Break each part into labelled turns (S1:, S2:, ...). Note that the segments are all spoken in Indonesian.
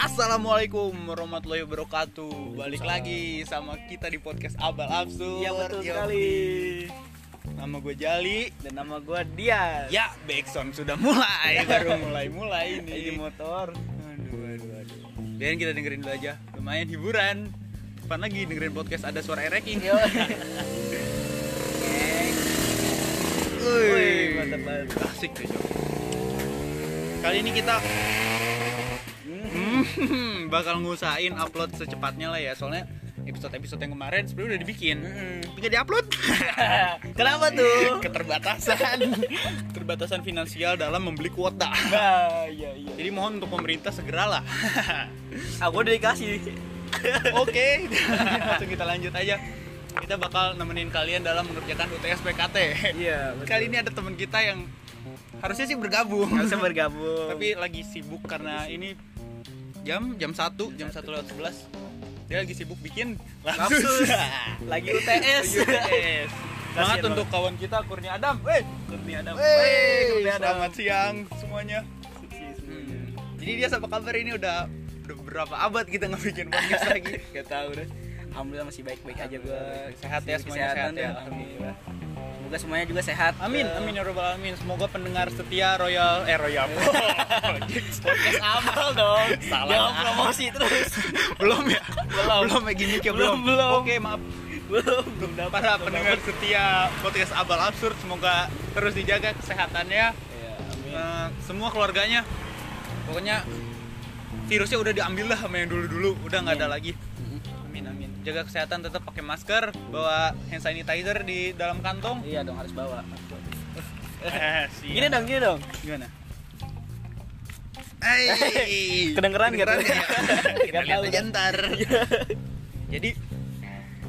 S1: Assalamualaikum warahmatullahi wabarakatuh. Balik lagi sama kita di podcast Abal Absur.
S2: Iya betul
S1: Yo.
S2: sekali.
S1: Nama gue Jali.
S2: Dan nama gua dia.
S1: Ya, Backsound sudah mulai, baru mulai-mulai ini.
S2: Di motor.
S1: Aduh, aduh, aduh. Biarin kita dengerin dulu aja. Lumayan hiburan. Kapan lagi dengerin podcast ada suara ereking.
S2: Yo. Wih,
S1: Wih,
S2: mantap banget.
S1: Asik tuh, Jok. Kali ini kita Hmm, bakal ngusahain upload secepatnya lah ya. Soalnya episode-episode yang kemarin sebenarnya udah dibikin. Tapi nggak diupload.
S2: Kenapa tuh?
S1: Keterbatasan. Keterbatasan finansial dalam membeli kuota.
S2: Nah, iya iya.
S1: Jadi mohon untuk pemerintah segeralah.
S2: Aku Ah, udah dikasih.
S1: Oke, langsung kita lanjut aja. Kita bakal nemenin kalian dalam mengerjakan UTS PKT.
S2: Iya, betul.
S1: Kali ini ada teman kita yang harusnya sih bergabung,
S2: harusnya bergabung.
S1: tapi lagi sibuk karena ini jam jam 1, jam 1 lewat 11. Dia lagi sibuk bikin
S2: Lapsus.
S1: lapsus.
S2: lagi UTS.
S1: Lagi
S2: iya.
S1: UTS. Semangat
S2: Kasian
S1: untuk kawan kita Kurnia Adam. Wey,
S2: Kurnia Adam.
S1: wey,
S2: Wey, Kurnia Adam.
S1: selamat siang semuanya.
S2: Sukses.
S1: Hmm. Jadi dia apa kabar ini udah udah berapa abad kita nggak bikin podcast lagi.
S2: Gak tau deh. Alhamdulillah masih baik-baik aja gua.
S1: Sehat ya,
S2: Kesehatan
S1: semuanya sehat ya.
S2: dan Alhamdulillah. Semoga semuanya juga sehat.
S1: Amin,
S2: Eh,
S1: amin ya robbal alamin. Semoga pendengar setia Royal eh Royal
S2: Podcast amal dong.
S1: Salah.
S2: Jangan promosi terus.
S1: belum ya?
S2: Belum.
S1: Belum ya gimmick ya
S2: Belum, belum.
S1: Oke, maaf
S2: belum belum dapat.
S1: para
S2: belum
S1: pendengar
S2: dapat.
S1: setia podcast Abal Absurd semoga terus dijaga kesehatannya
S2: Iya, amin.
S1: eh, semua keluarganya. Pokoknya virusnya udah diambil lah sama yang dulu-dulu, udah nggak ada lagi. Amin amin. Jaga kesehatan tetap pakai masker, bawa hand sanitizer di dalam kantong.
S2: Iya dong harus bawa.
S1: Eh, siap.
S2: Gini dong, gini dong.
S1: gimana? Hey,
S2: Kedengeran nggak tuh?
S1: ya? Kita
S2: Nggak
S1: lihat
S2: tahu
S1: aja
S2: dong.
S1: ntar. Jadi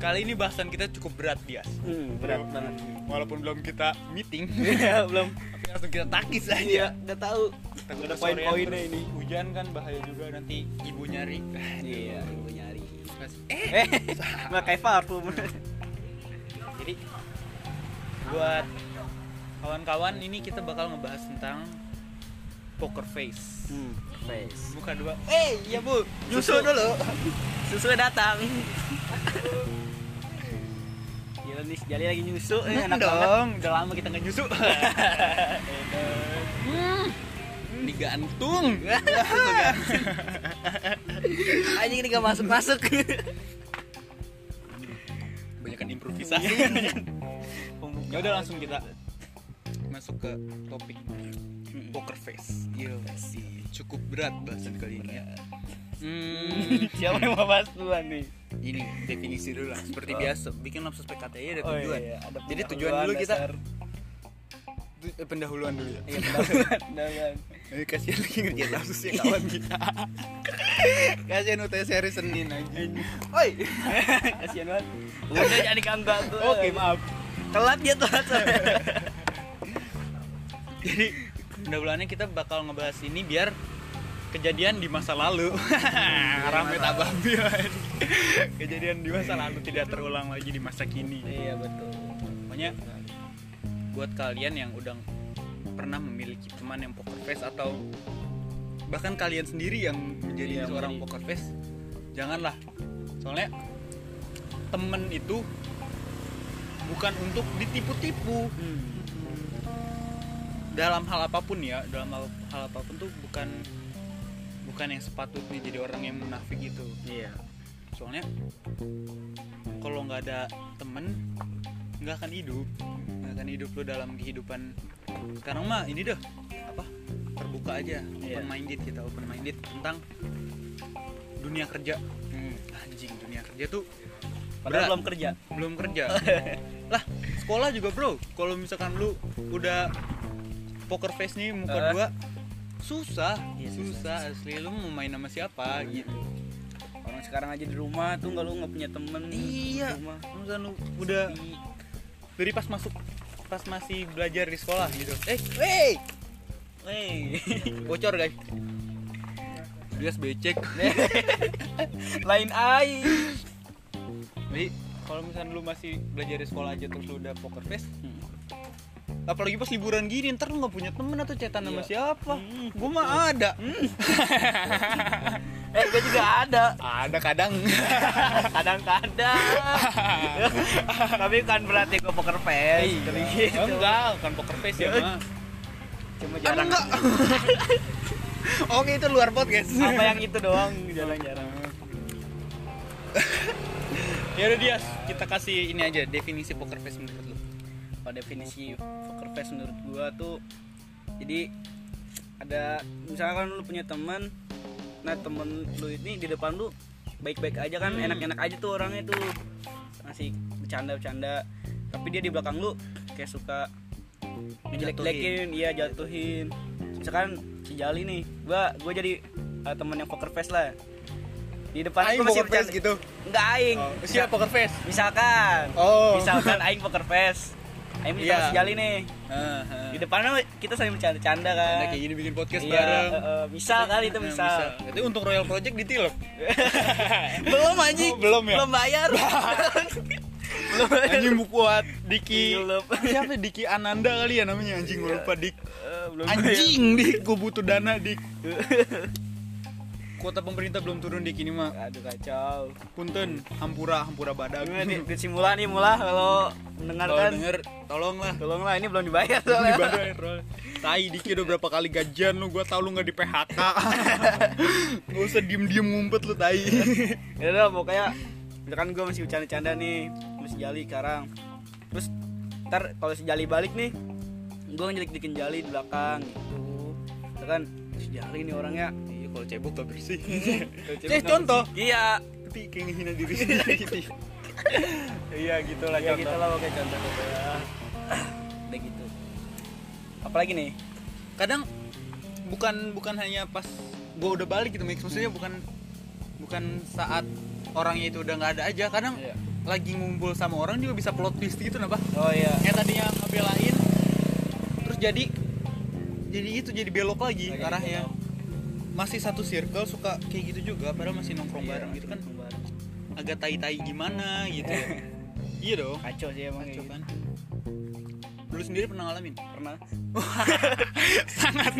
S1: kali ini bahasan kita cukup berat Dias.
S2: Hmm, berat banget.
S1: Walaupun belum kita meeting,
S2: Iya, belum.
S1: tapi langsung kita takis
S2: Iya,
S1: aja.
S2: enggak tahu.
S1: Takut
S2: Ada
S1: kesorean,
S2: poin-poinnya
S1: terus
S2: ini.
S1: Hujan kan bahaya juga nanti ibu nyari.
S2: Iya, gue nyari.
S1: Eh,
S2: Eh, nggak kayak parfum.
S1: jadi buat kawan-kawan ini kita bakal ngebahas tentang poker face.
S2: Hmm, face.
S1: Buka dua.
S2: Eh, iya bu,
S1: Susu dulu.
S2: Susu datang. Gila nih, Jali lagi nyusu, eh,
S1: Enak
S2: enak banget.
S1: dong, udah lama kita nggak nyusu. Digantung.
S2: Anjing ini gak masuk-masuk.
S1: Banyakan improvisasi. ya udah langsung kita masuk ke topik poker face. Iya sih. Cukup berat bahasan kali ini ya. Hmm,
S2: Siapa yang mau bahas duluan nih?
S1: ini definisi dulu lah. Seperti biasa, bikin lapsus PKT nya ada
S2: Oh,
S1: tujuan.
S2: iya, iya, ada
S1: Jadi tujuan
S2: pendahuluan
S1: dulu kita
S2: dasar.
S1: Tu- eh, pendahuluan dulu ya.
S2: Iya, pendahuluan, pendahuluan.
S1: Eh, kasihan lagi ngerjain lapsusnya kawan kita. kasihan UTS hari Senin aja.
S2: Oi. Kasihan banget. Udah jadi kagak tuh.
S1: Oke, maaf.
S2: Telat dia telat.
S1: Jadi pendahuluannya kita bakal ngebahas ini biar kejadian di masa
S2: Oh,
S1: lalu.
S2: iya,
S1: Rame tababil. kejadian di masa lalu tidak terulang lagi di masa kini.
S2: iya, betul.
S1: Pokoknya buat kalian yang udah pernah memiliki teman yang poker face atau bahkan kalian sendiri yang menjadi
S2: Iya,
S1: seorang
S2: menjadi-
S1: poker face, janganlah. Soalnya temen itu bukan untuk ditipu-tipu dalam hal apapun ya dalam hal, hal apapun tuh bukan bukan yang sepatutnya jadi orang yang munafik gitu
S2: Iya.
S1: soalnya kalau nggak ada temen nggak akan hidup nggak akan hidup lo dalam kehidupan sekarang mah ini dah apa terbuka aja
S2: Iya.
S1: open minded kita open minded tentang dunia kerja anjing dunia kerja tuh Berat.
S2: Padahal belum kerja.
S1: belum kerja lah sekolah juga bro kalau misalkan lu udah poker face nih
S2: Eh.
S1: muka dua susah
S2: Iya,
S1: susah asli lu mau main sama siapa gitu
S2: Orang sekarang aja di rumah tuh nggak lu nggak punya temen.
S1: iya
S2: Di rumah.
S1: misalkan lu udah
S2: Sepi.
S1: dari pas masuk pas masih belajar di sekolah gitu eh
S2: Wey. Wey.
S1: bocor guys dia becek
S2: Lain ai.
S1: jadi kalau misalkan lu masih belajar di sekolah aja terus lu udah poker face Hmm. apalagi pas liburan gini ntar lu nggak punya temen atau cetan sama
S2: Iya.
S1: siapa
S2: Hmm,
S1: gue mah ada
S2: eh gue juga ada
S1: ada kadang
S2: kadang-kadang tapi kan berarti gue poker face
S1: Iya.
S2: tapi gitu.
S1: enggak bukan poker face ya
S2: Iya.
S1: mah
S2: cuma
S1: Emang
S2: jarang
S1: enggak Kan oke itu luar podcast
S2: apa yang itu doang jarang-jarang
S1: ya udah Dias kita kasih ini aja definisi poker face menurut lu
S2: kalau definisi poker face menurut gua tuh jadi ada misalkan lu punya teman nah temen lu ini di depan lu baik-baik aja kan
S1: Hmm.
S2: enak-enak aja tuh orangnya tuh masih bercanda-bercanda tapi dia di belakang lu kayak suka ngejelek-jelekin iya jatuhin misalkan si Jali nih gua gua jadi uh, temen yang poker face lah di depan
S1: Aing
S2: gua masih
S1: poker face
S2: bercanda-
S1: gitu
S2: enggak aing
S1: oh, siap poker face
S2: misalkan
S1: oh
S2: misalkan aing poker face aing minta
S1: Iya.
S2: yeah. jali nih
S1: Ah, ah.
S2: di depan kan kita saling bercanda-canda
S1: Ada
S2: kan
S1: kayak gini bikin podcast
S2: iya,
S1: bareng
S2: eh, eh, bisa kali itu
S1: Eh,
S2: bisa,
S1: itu untuk Royal Project ditilep
S2: belum anjing
S1: Oh, belum ya?
S2: belum bayar belum bayar
S1: anjing buku kuat Diki
S2: Tilep.
S1: siapa Diki Ananda kali ya namanya anjing gue lupa Dik
S2: Eh, belum
S1: anjing Dik gue butuh dana Dik kuota pemerintah belum turun Dik ini mah
S2: bayar. aduh kacau
S1: punten hampura hampura badak
S2: Gimana nih di Simula nih mula kalau
S1: kalau
S2: mendengarkan
S1: denger tolonglah
S2: tolonglah ini belum dibayar
S1: Oh,
S2: soalnya
S1: dibayar Roy. tai Diki udah berapa kali gajian lu gua tau lu nggak di PHK gak usah diem diem ngumpet lu tai
S2: ya udah pokoknya misalkan gue masih bercanda-canda nih sama si Jali sekarang terus ntar kalau si Jali balik nih gue ngejelik-jelikin Jali di belakang gitu misalkan si Jali nih orangnya
S1: iya kalau cebok gak bersih
S2: Cewek
S1: contoh.
S2: iya
S1: tapi kayak ngehina diri sendiri iya gitulah Ah.
S2: ya gitu lah oke contoh ya. udah gitu apalagi nih
S1: kadang bukan bukan hanya pas gua udah balik gitu Mix maksudnya bukan bukan saat orangnya itu udah nggak ada aja kadang
S2: Iya.
S1: lagi ngumpul sama orang juga bisa plot twist gitu nah bah
S2: oh iya
S1: yang tadinya ngebelain terus jadi jadi itu jadi belok lagi
S2: Lagi
S1: arahnya
S2: belok.
S1: masih satu circle suka kayak gitu juga padahal masih nongkrong bareng gitu kan
S2: Iya, bareng.
S1: agak tai-tai gimana gitu ya. iya dong
S2: kacau sih emang
S1: Kacau
S2: kayak gitu.
S1: kan lu sendiri pernah ngalamin
S2: pernah
S1: sangat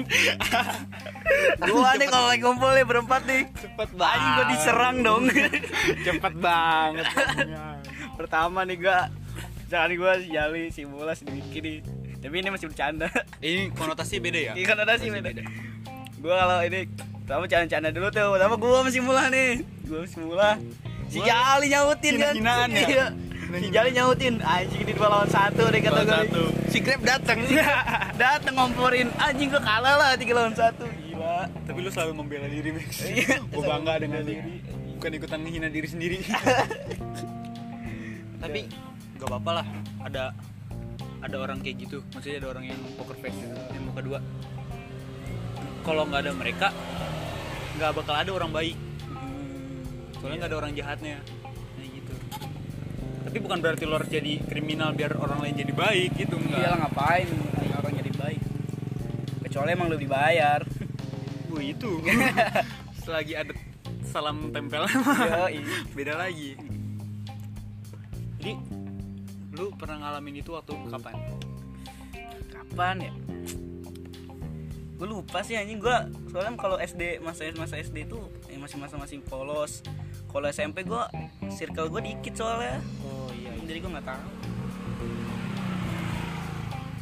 S2: gua nih kalau lagi ngumpul nih berempat nih
S1: cepet
S2: anjing gua diserang dong
S1: cepet banget
S2: pertama nih gua misalkan gua si Jali si Mula si Dwiki nih tapi ini masih bercanda
S1: ini konotasi beda ya
S2: ini kan ada sih beda gua kalau ini pertama canda-canda dulu tuh pertama gua masih Mula nih gua masih Mula si
S1: Gua
S2: Jali nyautin kan
S1: hina-hinaan ya?
S2: Iya. si Jali nyautin anjing ini dua lawan satu deh kata gua nih.
S1: si grab dateng
S2: dateng ngomporin anjing gua kalah lah tiga lawan satu gila
S1: tapi lu selalu membela diri Mix
S2: Iya.
S1: gue bangga dengan diri bukan ikutan menghina diri sendiri Iya. tapi gak apa-apa lah ada ada orang kayak gitu maksudnya ada orang yang poker face gitu yang muka dua kalau nggak ada mereka nggak bakal ada orang baik Hmm, soalnya nggak ada orang jahatnya kayak gitu tapi bukan berarti lo harus jadi kriminal biar orang lain jadi baik gitu
S2: iya lah
S1: enggak
S2: ngapain orang jadi baik kecuali emang lu dibayar
S1: Wah itu selagi ada salam tempel
S2: Yoi.
S1: beda lagi jadi lu pernah ngalamin itu waktu kapan
S2: kapan ya gue lupa sih anjing gue soalnya kalau SD masa masa SD itu eh, masih masa masih polos kalau SMP gue circle gue dikit soalnya
S1: oh
S2: jadi gue nggak tahu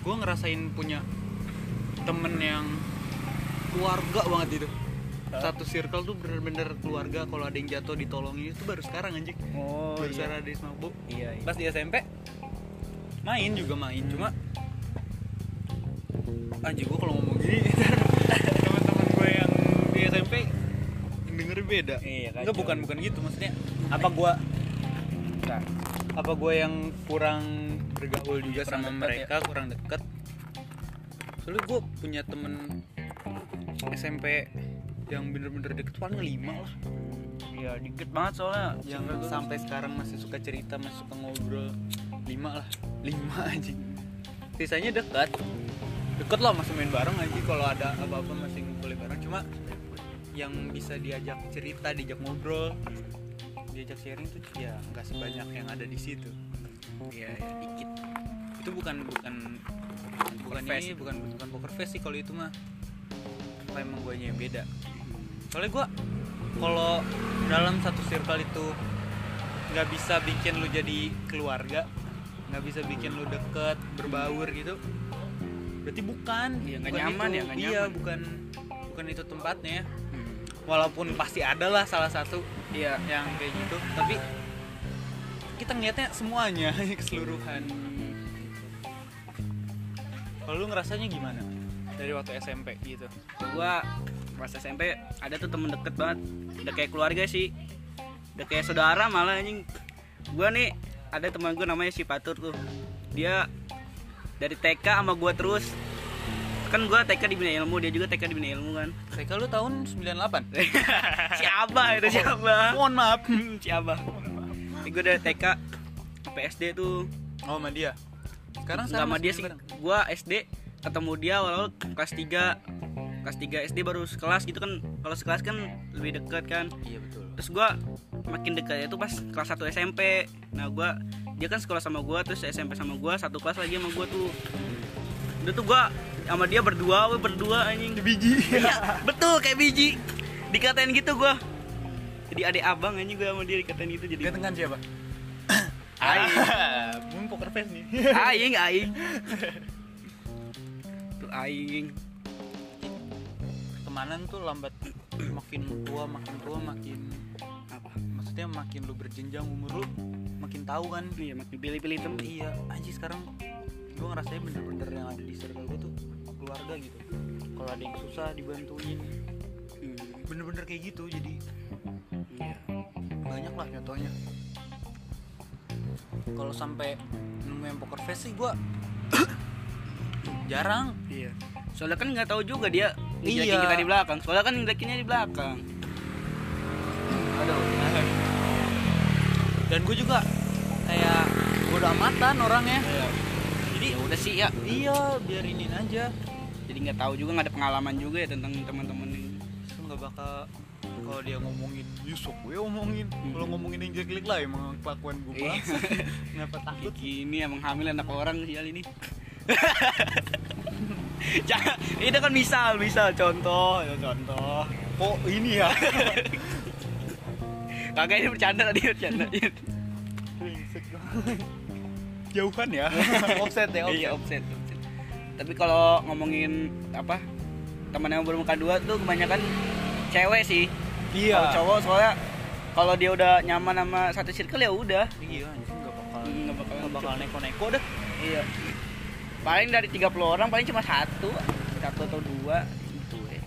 S1: gue ngerasain punya temen yang keluarga banget itu
S2: Hah?
S1: satu circle tuh bener-bener keluarga kalau ada yang jatuh ditolongin itu baru sekarang anjing
S2: oh
S1: baru sekarang ada Isma Bu.
S2: iya, iya.
S1: pas di SMP main juga main cuma anjir gue kalau ngomong gini ntar teman-teman gue yang di SMP yang denger beda
S2: Iya, kacau.
S1: Enggak, bukan bukan gitu maksudnya apa gue
S2: Nah,
S1: apa gue yang kurang bergaul juga
S2: Kurang
S1: sama
S2: deket
S1: mereka kurang ya? deket soalnya gue punya temen SMP yang bener-bener deket paling lima lah
S2: iya dikit banget soalnya
S1: yang
S2: circle gua.
S1: sampai sekarang masih suka cerita masih suka ngobrol lima lah lima aja sisanya dekat dekat lah masih main bareng aja kalau ada apa-apa masih ngumpulin bareng cuma yang bisa diajak cerita diajak ngobrol diajak sharing tuh ya nggak Iya, sebanyak yang ada di situ ya, ya dikit itu bukan bukan bukan bukan
S2: face gitu.
S1: ini
S2: itu.
S1: bukan bukan poker face sih kalau itu mah apa emang gue yang beda soalnya gue kalau dalam satu circle itu nggak bisa bikin lu jadi keluarga nggak bisa bikin lu deket berbaur gitu berarti bukan
S2: Iya, nggak
S1: bukan
S2: nyaman
S1: itu.
S2: ya, nggak
S1: iya
S2: nyaman.
S1: bukan bukan itu tempatnya
S2: Hmm.
S1: walaupun pasti ada lah salah satu
S2: iya
S1: yang kayak gitu tapi kita ngeliatnya semuanya keseluruhan kalau lu ngerasanya gimana dari waktu SMP gitu
S2: gua pas SMP ada tuh temen deket banget udah kayak keluarga sih udah kayak saudara malah anjing gua nih ada teman gua namanya si Patur tuh dia dari TK sama gua terus kan gua TK di bina ilmu dia juga TK di bina ilmu kan
S1: TK lu tahun 98
S2: si Abah itu si Abah
S1: mohon maaf
S2: si Abah Ini gua dari TK sampai SD tuh
S1: oh sama dia sekarang
S2: Nggak sama
S1: masih
S2: dia sih
S1: bareng?
S2: gua SD ketemu dia awal-awal kelas 3 kelas 3 SD baru sekelas gitu kan kalau sekelas kan lebih dekat kan
S1: iya betul
S2: terus gua makin dekatnya itu pas kelas 1 SMP nah gua dia kan sekolah sama gua terus SMP sama gua satu kelas lagi sama gua tuh udah tuh gua sama dia berdua we berdua anjing
S1: biji
S2: Iya, betul kayak biji dikatain gitu gua jadi adik abang anjing gua sama dia dikatain gitu jadi
S1: gantengan siapa
S2: Aing.
S1: Mungkin poker face nih
S2: aing aing tuh aing
S1: pertemanan tuh lambat makin tua makin tua makin
S2: apa
S1: maksudnya makin lu berjenjang umur lu makin tahu kan
S2: iya makin pilih-pilih temen
S1: iya anjir sekarang gue ngerasain bener-bener yang ada di circle gue tuh keluarga gitu kalau ada yang susah dibantuin
S2: Hmm,
S1: bener-bener kayak gitu jadi
S2: iya.
S1: banyak lah contohnya kalau sampai nemu yang poker face sih gue jarang
S2: Iya. Soalnya kan nggak tahu juga dia ngejelekin
S1: Iya.
S2: kita di belakang. Soalnya kan ngejelekinnya di belakang.
S1: aduh dan gue juga kayak bodo amatan orangnya
S2: Jadi ya udah sih ya.
S1: iya biarinin aja
S2: Jadi nggak tahu juga nggak ada pengalaman juga ya tentang teman-teman ini.
S1: Lu Kan nggak bakal kalau dia ngomongin Yusuf gue omongin kalau ngomongin yang jelek-jelek lah emang kelakuan gue
S2: Iya.
S1: banget kenapa takut
S2: Kayak gini emang hamil anak orang sih ini. Jangan, itu kan misal, misal contoh, ya contoh.
S1: kok ini ya
S2: Kagak ini bercanda tadi bercanda.
S1: Brengsek banget. jauhan ya offset ya
S2: Iya offset. offset. Tapi kalau ngomongin apa teman yang bermuka dua tuh kebanyakan cewek sih.
S1: iya
S2: Kalau cowok soalnya kalau dia udah nyaman sama satu circle ya udah.
S1: iya anjing nggak bakal
S2: Nggak bakal-
S1: nggak bakal neko-neko dah
S2: Iya. Paling dari 30 orang paling cuma satu, satu atau dua gitu ya.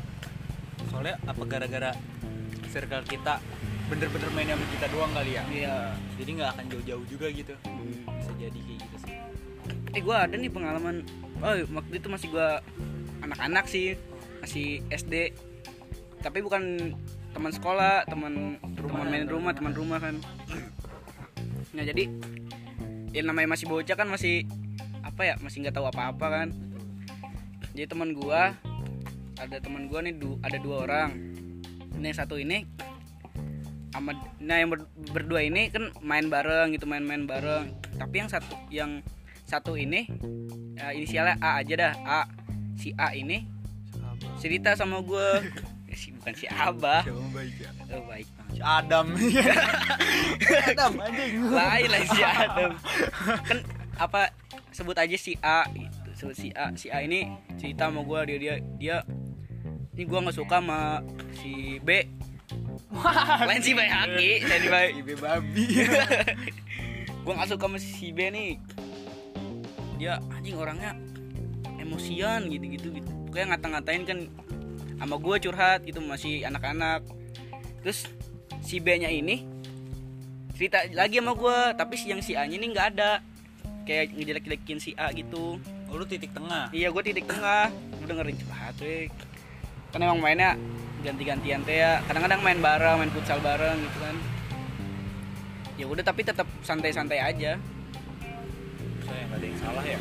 S1: soalnya apa gara-gara circle kita bener-bener mainnya sama kita doang kali ya
S2: Iya.
S1: jadi nggak akan jauh-jauh juga gitu bisa jadi kayak gitu sih
S2: Eh gua ada nih pengalaman. Oh, waktu itu masih gua anak-anak sih, masih SD. Tapi bukan teman sekolah, teman teman main rumah, teman rumah kan. Nah, jadi ya namanya masih bocah kan masih apa ya, masih nggak tahu apa-apa kan. jadi teman gua ada teman gua nih du- ada dua orang ini yang satu ini sama nah yang ber- berdua ini kan main bareng gitu main-main bareng tapi yang satu yang satu ini eh, inisialnya A aja dah A si A ini cerita sama gua Eh, si bukan si Abah
S1: Siapa baik ya
S2: oh, baik
S1: Si Adam Adam anjing
S2: lain lah si Adam kan apa sebut aja si A gitu sebut si A si A ini cerita sama gue dia dia dia ini gue nggak suka sama si B lain si Bay Haki jadi Bay
S1: Ibe babi
S2: gue nggak suka sama si B nih dia anjing orangnya emosian gitu gitu gitu pokoknya ngata-ngatain kan sama gue curhat gitu masih anak-anak terus si B nya ini cerita lagi sama gue tapi si yang si A nya ini nggak ada kayak ngejelek-jelekin si A gitu
S1: Oh, lu titik tengah
S2: iya gue titik tengah gue dengerin curhat weh kan emang mainnya ganti-gantian teh ya kadang-kadang main bareng main futsal bareng gitu kan ya udah tapi tetap santai-santai aja
S1: saya nggak ada yang salah ya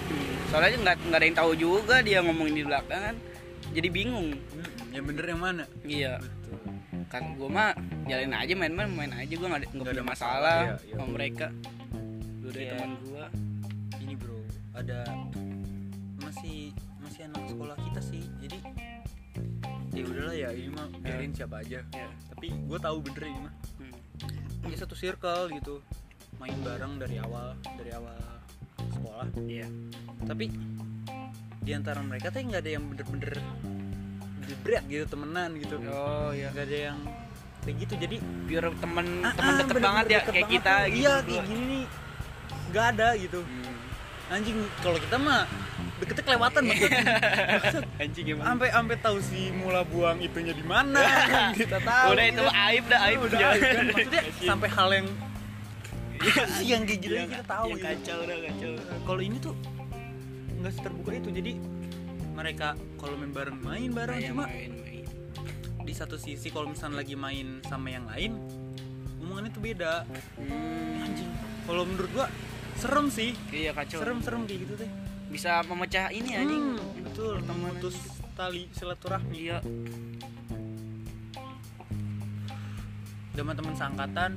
S2: soalnya nggak nggak ada yang tahu juga dia ngomongin di belakang kan jadi bingung
S1: Hmm, yang bener yang mana
S2: iya
S1: betul
S2: kan gue mah jalanin aja main-main main aja gue nggak ada- nggak
S1: Nggak
S2: punya
S1: ada
S2: masalah
S1: masalah, iya, iya.
S2: sama mereka gue dari
S1: Iya.
S2: teman gue
S1: ini bro ada masih si anak sekolah kita sih jadi ya udahlah ya ini mah biarin siapa aja
S2: Iya.
S3: ya
S1: tapi gue tahu bener ini mah
S3: hmm.
S1: ya satu circle gitu main bareng dari awal dari awal sekolah
S3: iya
S1: tapi di antara mereka tuh nggak ada yang bener-bener jebret gitu temenan gitu
S3: oh iya
S1: nggak ada yang kayak gitu jadi
S2: biar teman
S1: ah,
S2: teman
S1: ah,
S2: deket
S1: bener-bener
S2: banget ya
S1: deket
S2: kayak
S1: banget.
S2: kita gitu
S1: iya
S2: berdua.
S1: kayak gini nih nggak ada gitu anjing kalau kita mah deketnya kelewatan banget
S3: anjing emang
S1: sampai sampai tahu si mula buang itunya di mana kan, kita tahu
S2: udah itu Iya.
S1: gitu.
S2: aib dah aib Iya,
S1: udah
S2: jangan.
S1: aib kan. maksudnya sampai hal yang yang kayak gitu
S3: Iya,
S1: kita tahu
S3: yang
S1: gitu
S3: kacau udah kacau
S1: kalau ini tuh nggak terbuka itu jadi mereka kalau main bareng main bareng
S2: Iya,
S3: Kayak
S1: cuma
S3: main-main.
S1: di satu sisi kalau misalnya lagi main sama yang lain omongannya tuh beda Hmm. anjing kalau menurut gua serem sih
S2: iya kacau
S1: serem serem kayak gitu teh
S2: bisa memecah ini anjing
S1: Hmm, betul memutus tali silaturahmi
S2: iya
S1: sama teman seangkatan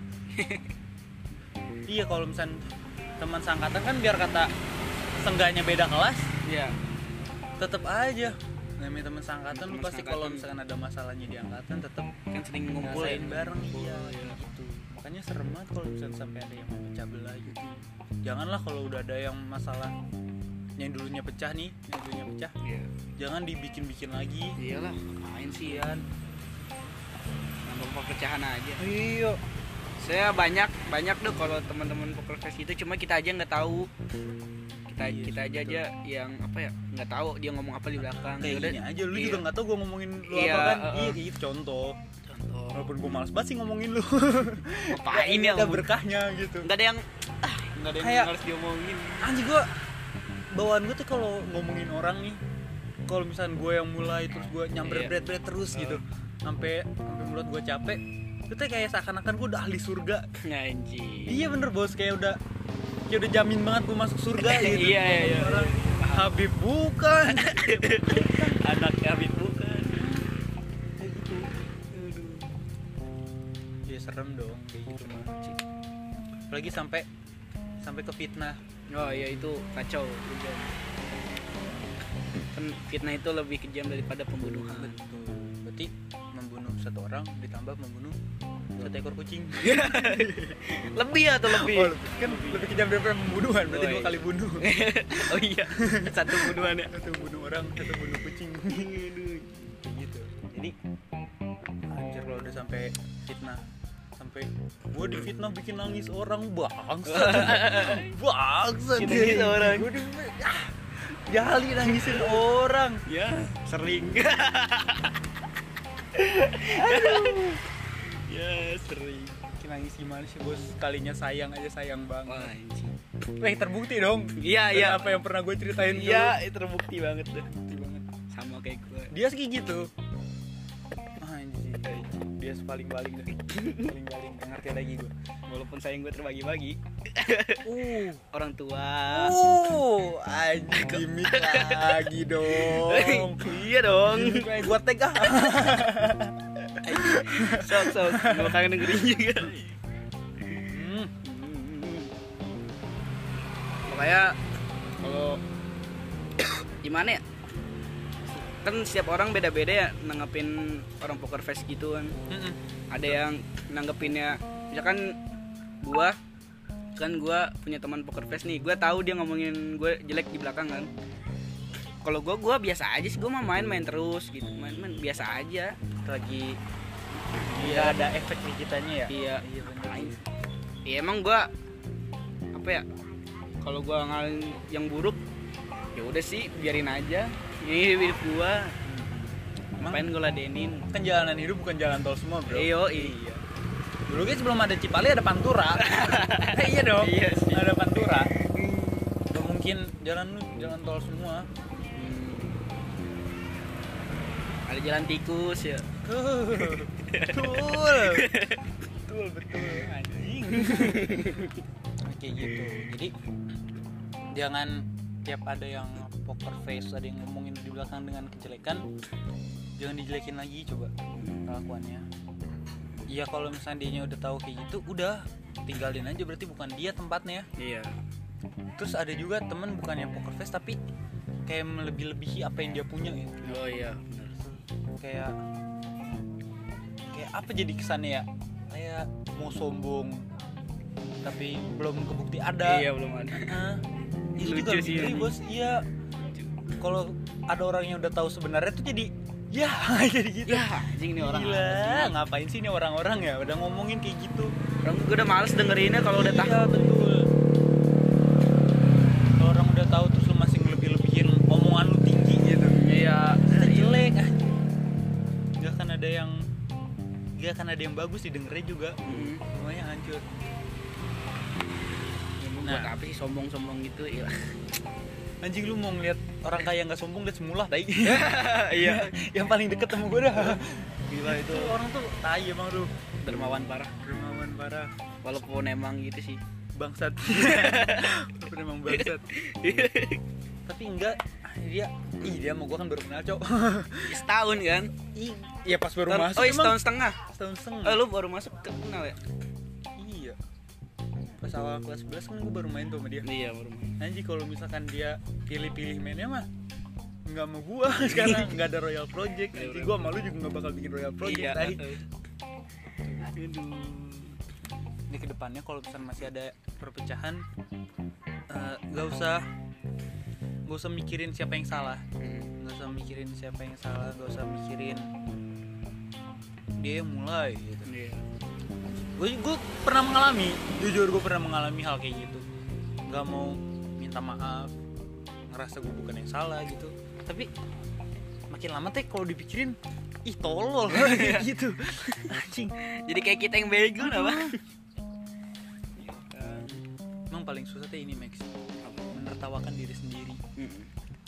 S1: iya kalau misalnya teman seangkatan kan biar kata sengganya beda kelas
S3: iya
S1: tetap aja namanya teman seangkatan lu
S3: Teman
S1: pasti kalau
S3: seangkatan.
S1: misalkan ada masalahnya di angkatan tetap
S3: kan sering ngumpul ya
S1: ngumpulin bareng iya kayak gitu makanya serem banget kalau misalnya sampai ada yang pecah belah gitu janganlah kalau udah ada yang masalah yang dulunya pecah nih yang dulunya pecah
S3: iya
S1: jangan dibikin-bikin lagi
S3: iyalah main sih ya nambah perpecahan aja
S1: iya
S2: saya banyak banyak deh kalau teman-teman poker face itu cuma kita aja nggak tahu kita
S1: Iya,
S2: kita aja
S1: betul.
S2: aja yang apa ya nggak tahu dia ngomong apa di belakang
S1: kayak
S2: Yaudah,
S1: gini aja lu
S2: iya.
S1: juga nggak tau gue ngomongin lu
S2: Iya,
S1: apa kan
S2: uh-uh.
S1: iya kayak gitu contoh
S2: contoh
S1: walaupun gue males banget sih ngomongin lu
S2: ngapain ya
S1: ada
S2: ngomong?
S1: berkahnya gitu
S2: nggak ada yang
S3: nggak ada yang
S1: Kayak-
S3: harus diomongin
S1: anjing gue bawaan gue tuh kalau ngomongin orang nih kalau misalnya gue yang mulai terus gue nyamber
S3: Iya.
S1: bret bret terus
S3: Uh.
S1: gitu sampai sampai mulut gue capek itu tuh kayak seakan-akan gue udah ahli surga
S2: Nah, anjing
S1: iya bener bos kayak udah kayak udah jamin banget gue masuk surga gitu
S2: Iya, iya, iya.
S1: Orang, Habib bukan
S2: anak kami bukan
S1: ya serem dong kayak gitu mah Cik. apalagi sampai sampai ke fitnah
S2: oh iya itu kacau kejam. kan fitnah itu lebih kejam daripada pembunuhan
S1: betul berarti membunuh satu orang ditambah membunuh satu ekor kucing
S2: lebih atau lebih
S1: Oh, lebih- kan lebih kejam daripada pembunuhan berarti
S2: Oh,
S1: dua
S2: iya.
S1: kali bunuh
S2: oh iya satu pembunuhan ya
S1: satu bunuh orang satu bunuh kucing kayak gitu jadi anjir kalau udah sampai fitnah sampai gua di fitnah bikin nangis orang bangsa bangsa
S2: Bikin nangis orang.
S1: gua di ah, jali nangisin orang
S3: ya sering ya sering
S1: bikin nangis gimana sih bos kalinya sayang aja sayang
S3: Wah,
S1: banget
S3: anjing
S1: eh terbukti dong
S2: iya
S1: Dan
S2: iya
S1: apa yang pernah gue ceritain dulu.
S3: iya terbukti banget deh
S1: Terbukti banget.
S2: sama kayak gue
S1: dia sih kayak gitu anjir dia paling paling deh paling paling ngerti lagi gue
S2: walaupun sayang gue terbagi-bagi
S1: uh
S2: orang tua
S1: uh anjir gimmick lagi dong
S2: iya dong
S1: gimmick lagi gue tag ah
S2: sok sok kalau kangen dengerin juga
S1: Hmm,
S2: makanya
S1: kalau
S2: gimana ya kan setiap orang beda-beda ya nanggepin orang poker face gitu kan ada yang nanggepinnya misalkan gua kan gua punya teman poker face nih gua tahu dia ngomongin gue jelek di belakang kan kalau gua gua biasa aja sih gua mah main-main terus gitu main-main biasa aja lagi
S1: dia ada efek di kitanya ya
S2: iya
S1: iya
S2: lain ya emang gua apa ya kalau gua ngalamin yang buruk ya udah sih biarin aja ini hidup gua
S1: emang
S2: main gua ladenin
S1: kan jalanan hidup bukan jalan tol semua bro
S2: Iyo, iya
S1: dulu kan sebelum ada Cipali ada Pantura Eh, iya dong Hmm.
S2: Iya sih.
S1: ada Pantura Gak mungkin jalan lu jalan tol semua
S2: Hmm. ada jalan tikus ya
S1: Tuh. Betul. Betul, betul. Anjing. Kayak gitu. Jadi jangan tiap ada yang poker face, ada yang ngomongin di belakang dengan kejelekan, jangan dijelekin lagi coba kelakuannya. Iya kalau misalnya dia udah tahu kayak gitu, udah tinggalin aja berarti bukan dia tempatnya.
S2: iya
S1: Terus ada juga temen bukan yang poker face tapi kayak melebih-lebihi apa yang dia punya ya
S2: oh iya benar
S1: kayak kayak apa jadi kesannya ya kayak mau sombong tapi belum kebukti ada
S2: iya belum ada
S1: Hah? itu
S2: Lucu
S1: juga
S2: sih
S1: ngeri,
S2: ini.
S1: bos iya kalau ada orang yang udah tahu sebenarnya tuh jadi ya jadi gitu
S2: ya anjing nih orang
S1: Gila,
S2: apa sih?
S1: ngapain sih ini orang-orang ya udah ngomongin kayak gitu
S2: orang gue udah males dengerinnya kalau udah tahu
S1: iya, betul kalau orang udah tahu terus lu masih lebih-lebihin omongan lu tinggi gitu
S2: iya
S1: kita jelek anjing. nggak akan ada yang nggak akan ada yang bagus didengernya juga
S2: Mm.
S1: semuanya hancur
S2: Ya, lu
S1: Nah.
S2: buat apa sih sombong-sombong gitu iya
S1: anjing lu mau ngeliat orang kaya nggak sombong liat semula tai iya yang paling deket sama gue dah gila itu orang tuh tai emang lu
S2: dermawan parah
S1: dermawan parah
S2: walaupun emang gitu sih
S1: bangsat Walaupun emang bangsat tapi enggak ah, dia ih dia sama gue kan baru kenal cok
S2: setahun kan
S1: Ih, ya pas baru
S2: Tahun-
S1: masuk
S2: oh iya,
S1: emang
S2: setahun setengah
S1: setahun setengah
S2: oh, lu baru masuk kenal ya
S1: iya pas awal kelas 11 kan gue baru main tuh sama dia
S2: iya baru masuk.
S1: Anji kalau misalkan dia pilih-pilih mainnya mah nggak mau gua sekarang nggak ada Royal Project
S2: Iya,
S1: nanti
S2: Royal
S1: gua malu juga nggak bakal bikin Royal Project
S2: iya
S1: tai.
S2: aduh
S1: Ini kedepannya kalau misalkan masih ada perpecahan eh, nggak usah nggak usah mikirin siapa yang salah
S2: Hmm.
S1: nggak usah mikirin siapa yang salah nggak usah mikirin dia yang mulai gitu
S2: iya
S1: gue gue pernah mengalami jujur gue pernah mengalami hal kayak gitu nggak mau minta maaf ngerasa gue bukan yang salah gitu tapi makin lama teh kalau dipikirin ih tolol kayak gitu anjing
S2: jadi kayak kita yang bego lah bang
S1: emang paling susah teh ini Max menertawakan diri sendiri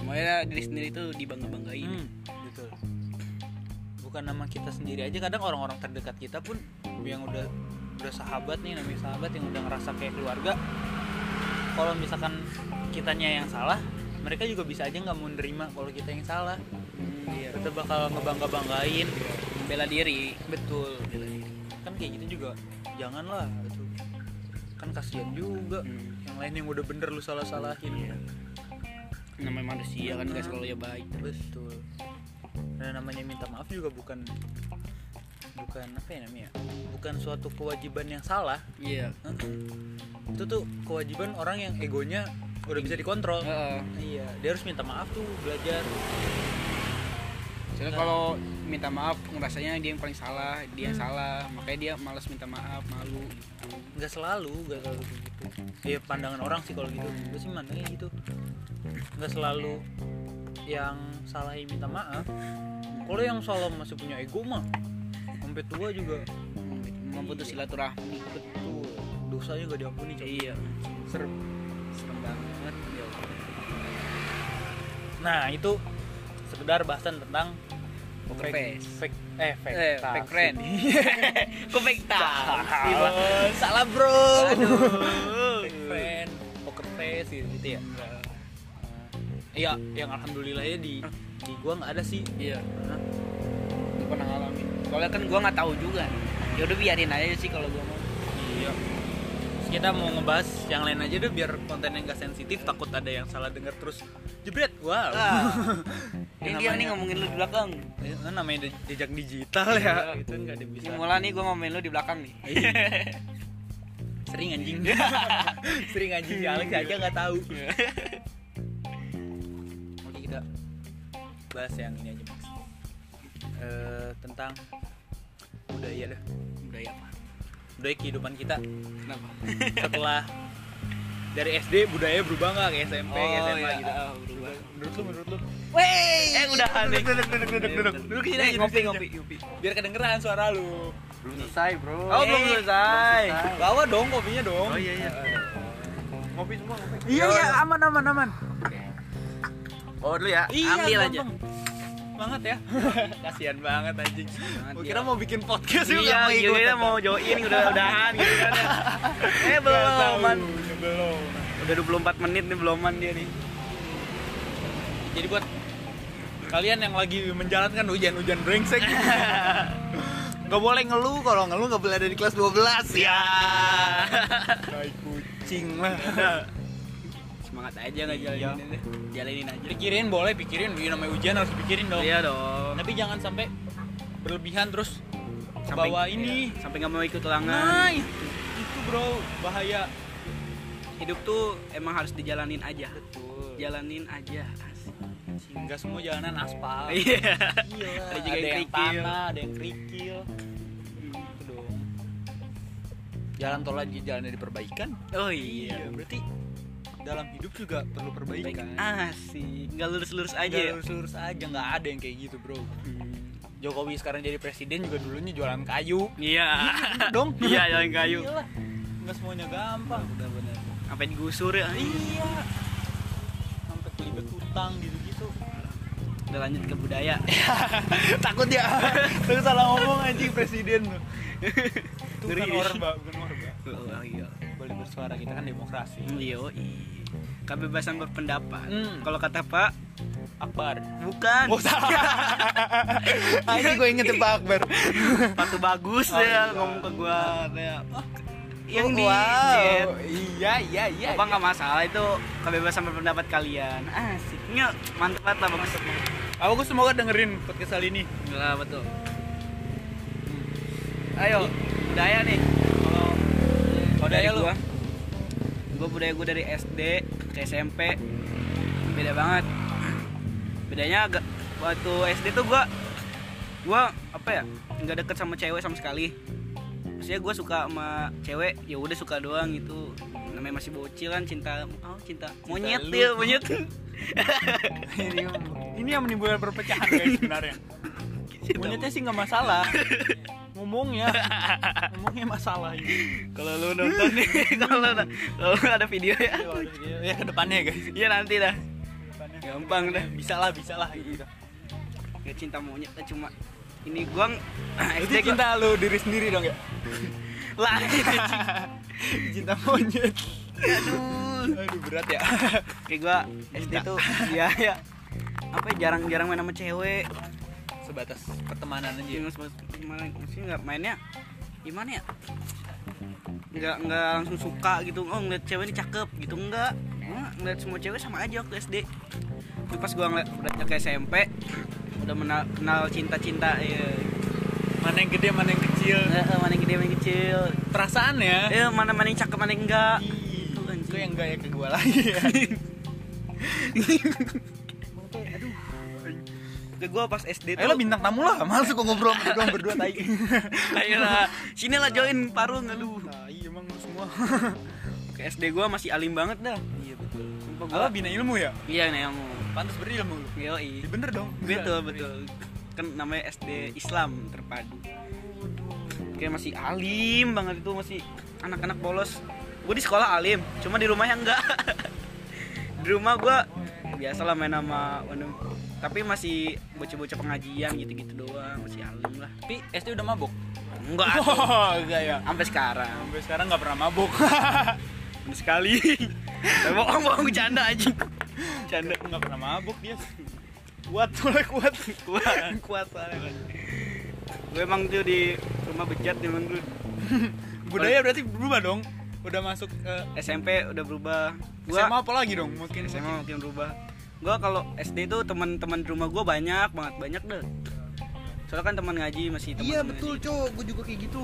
S2: Makanya diri sendiri tuh dibangga-banggain
S1: Hmm, betul bukan nama kita sendiri aja kadang orang-orang terdekat kita pun yang udah udah sahabat nih namanya sahabat yang udah ngerasa kayak keluarga kalau misalkan kitanya yang salah mereka juga bisa aja nggak mau nerima kalau kita yang salah
S2: Iya.
S1: kita bakal ngebangga banggain
S2: Bela diri
S1: betul kan kayak gitu juga janganlah itu kan kasihan juga
S2: Hmm.
S1: yang lain yang udah bener lu salah salahin
S2: Namanya manusia kan guys
S1: Hmm.
S2: kalau ya baik
S1: betul dan namanya minta maaf juga bukan bukan apa ya namanya bukan suatu kewajiban yang salah
S2: Iya
S1: itu tuh kewajiban orang yang egonya udah bisa dikontrol
S2: Heeh.
S1: iya dia harus minta maaf tuh belajar Nah.
S2: Soalnya kalau minta maaf ngerasanya dia yang paling salah
S1: Mm.
S2: Dia yang salah Makanya dia malas minta maaf, malu
S1: nggak selalu nggak selalu kayak gitu ya pandangan orang sih kalau gitu gue sih mandangnya gitu nggak selalu yang salah yang minta maaf kalau yang salah masih punya ego mah sampai tua juga
S2: Memutus silaturahmi
S1: betul dosanya nggak diampuni coy.
S2: Iya
S1: serem
S2: Serem banget ya Allah.
S1: Nah itu sekedar bahasan tentang
S2: Poker
S1: fake-
S2: face.
S1: fake- eh fake,
S2: Eh,
S1: tax.
S2: fake friend Kok fake tax sih, Bang?
S1: Salah bro.
S2: Aduh.
S1: fake friend, poker face gitu, gitu ya. Iya, yang alhamdulillahnya di di gua nggak ada sih.
S2: Iya
S1: Hah?
S2: Gak pernah ngalamin Soalnya kan gua nggak tahu juga ya udah biarin aja sih kalau gua mau
S1: Iya. Terus kita mau ngebahas yang lain aja deh biar kontennya nggak sensitif takut ada yang salah dengar terus jebret wow
S2: Ah. Ini dia
S1: Namanya-
S2: nih ngomongin lu di belakang
S1: Ya, kan namanya de- jejak digital
S2: Iya.
S1: ya itu nggak ada bisa
S2: Ini mula nih gua ngomongin lu di belakang nih
S1: sering anjing sering anjing si Alex aja nggak tahu oke kita bahas yang ini aja mas Eh, tentang budaya dah
S2: Budaya apa?
S1: budaya kehidupan kita
S2: Kenapa?
S1: setelah dari SD budaya berubah nggak ke SMP ke SMA
S2: iya,
S1: gitu
S2: ah, berubah.
S1: menurut lu menurut lu
S2: Wey, eh udah nih.
S1: duduk duduk duduk duduk duduk sini aja,
S2: ngopi,
S1: duduk
S2: ngopi,
S1: sini aja. biar kedengeran suara lu
S4: Belum selesai bro.
S1: oh belum
S2: Eh,
S1: selesai
S2: belum selesai.
S1: bawa dong kopinya dong
S4: Oh iya iya.
S1: Eh,
S4: Ngopi semua ngopi.
S1: iya iya aman aman aman
S4: Oh dulu ya.
S1: Iya,
S2: Ambil aja.
S1: gampang. Banget ya. Kasihan banget anjing. Gua
S2: dia.
S1: kira mau bikin podcast juga
S2: Iya,
S1: nggak mau
S2: gila
S1: ikut.
S2: mau join udah udahan gitu kan. ya. Eh
S1: Nggak
S2: belum,
S1: tahu,
S2: man.
S1: belum.
S2: Udah 24 menit nih beloman dia nih.
S1: Jadi buat kalian yang lagi menjalankan hujan-hujan brengsek Gak boleh ngeluh, kalau ngeluh gak boleh ada di kelas 12 ya.
S2: Ya.
S1: Kayak kucing lah.
S2: Semangat semangat aja nggak
S3: Iya.
S2: jalanin deh. jalanin aja
S1: pikirin boleh pikirin ini namanya ujian harus pikirin Iya dong
S2: iya dong
S1: tapi jangan sampai berlebihan terus
S2: Sampai-
S1: bawa ini
S2: iya, sampai nggak mau ikut lengan
S1: nah itu itu bro bahaya
S2: hidup tuh emang harus dijalanin aja
S1: betul
S2: jalanin aja asik
S1: nggak semua jalanan aspal
S2: iya
S1: Gila,
S2: Ada
S1: ada,
S2: juga yang
S1: yang
S2: kerikil.
S1: tanah, ada yang kerikil. Gitu dong. Jalan tol lagi jalannya diperbaikan.
S2: oh iya
S1: berarti dalam hidup juga perlu
S2: Baik.
S1: perbaikan.
S2: asik nggak lurus lurus aja ya?
S1: Iya, Nggak lurus-lurus aja nggak ada yang kayak gitu bro. Jokowi sekarang jadi presiden juga dulunya jualan kayu.
S2: iya
S1: Gitu dong.
S2: iya jalan kayu
S1: Gila, nggak semuanya gampang. Benar-benar.
S2: sampai digusur ya
S1: Iya. Sampai kelibet utang gitu-gitu.
S2: udah lanjut ke budaya
S1: Takut ya. Terus salah ngomong anjing presiden tuh. Itu
S2: Ngeri.
S1: bukan orba, bukan orba.
S2: oh iya
S1: boleh bersuara kita kan demokrasi
S2: Yo, kebebasan berpendapat.
S1: Hmm.
S2: Kalau kata Pak,
S1: Akbar
S2: bukan.
S1: oh salah ini gue inget ya Pak Akbar
S2: Sepatu bagus
S1: Oh,
S2: ya
S1: iya.
S2: ngomong ke gua. Ya. Yang di jet.
S1: wow iya iya iya
S2: Apa nggak masalah itu kebebasan berpendapat kalian. Asiknya mantep banget lah bagus.
S1: aku semoga dengerin podcast kali ini
S2: Lah betul. Ayo, budaya nih. Kalau
S1: Budaya lu.
S2: gua, gua budaya gua dari SD ke SMP beda banget. Bedanya agak waktu SD tuh gua gua apa ya? nggak deket sama cewek sama sekali. Maksudnya gua suka sama cewek, ya udah suka doang gitu. Namanya masih bocil kan cinta oh cinta, monyet
S1: lu.
S2: dia, monyet.
S1: ini ini yang menimbulkan perpecahan guys sebenarnya monyetnya sih nggak masalah ngomongnya ngomongnya masalah ini
S2: kalau lu nonton nih, kalau lu kalau lu ada video ya.
S1: ya kedepannya guys
S2: Iya nanti dah.
S1: Kedepannya.
S2: Gampang dah.
S1: bisa lah bisa lah gitu
S2: ya cinta monyet lah cuma ini gua ng-
S1: itu
S2: SD gua-
S1: cinta lu diri sendiri dong ya
S2: lah
S1: cinta monyet aduh aduh berat ya
S2: kayak gua SD tuh ya ya apa ya, jarang-jarang main sama cewek
S1: sebatas pertemanan aja
S2: Cuma sebab- gimana sih nggak mainnya gimana ya nggak nggak langsung suka gitu oh ngeliat cewek ini cakep gitu nggak Gua ngeliat semua cewek sama aja waktu SD itu pas gua ngeliat udah ke SMP udah menal, kenal cinta-cinta ya
S1: mana yang gede mana yang kecil
S2: Eh, eh, mana yang gede mana yang kecil
S1: perasaan ya
S2: eh mana mana yang cakep mana yang enggak Gitu, anjing.
S1: itu yang gak ya ke gua lagi ya
S2: Oke, gue pas SD
S1: ayo lah bintang tamu lah males gua ngobrol sama doang berdua tai
S2: Ayolah, sini lah join parung lu.
S1: tai emang lu semua
S2: Ke SD gua masih alim banget dah. Iya betul. Sumpah gua.
S1: Alah bina ilmu ya
S2: Iya nih kamu.
S1: pantas berilmu lu
S2: Yoi.
S1: Ya bener dong
S2: Betul betul. Kan namanya SD Islam terpadu. Kayak masih alim banget itu masih anak-anak bolos. Gue di sekolah alim, cuma di rumahnya enggak. di rumah gua biasalah main sama wanita- tapi masih bocah-bocah pengajian gitu-gitu doang, masih alim lah.
S1: tapi SD udah mabuk
S2: Enggak. tuh.
S1: oh enggak ya
S2: Sampai sekarang.
S1: sampai sekarang gak pernah mabuk
S2: Bener sekali. Tapi bohong bohong bercanda aja.
S1: canda gak pernah mabuk dia kuat soalnya kuat kuat
S2: Kuat soalnya. Gue emang tuh di rumah bejat di dulu
S1: budaya berarti berubah dong udah masuk eh, ke
S2: SMP udah berubah. Gua
S1: SMA apa lagi dong mungkin
S2: SMA makin berubah. Gua kalau SD tuh teman-teman di rumah gua banyak banget banyak deh. Soalnya kan teman ngaji masih teman. ngaji.
S1: Iya, cowok gue juga kayak gitu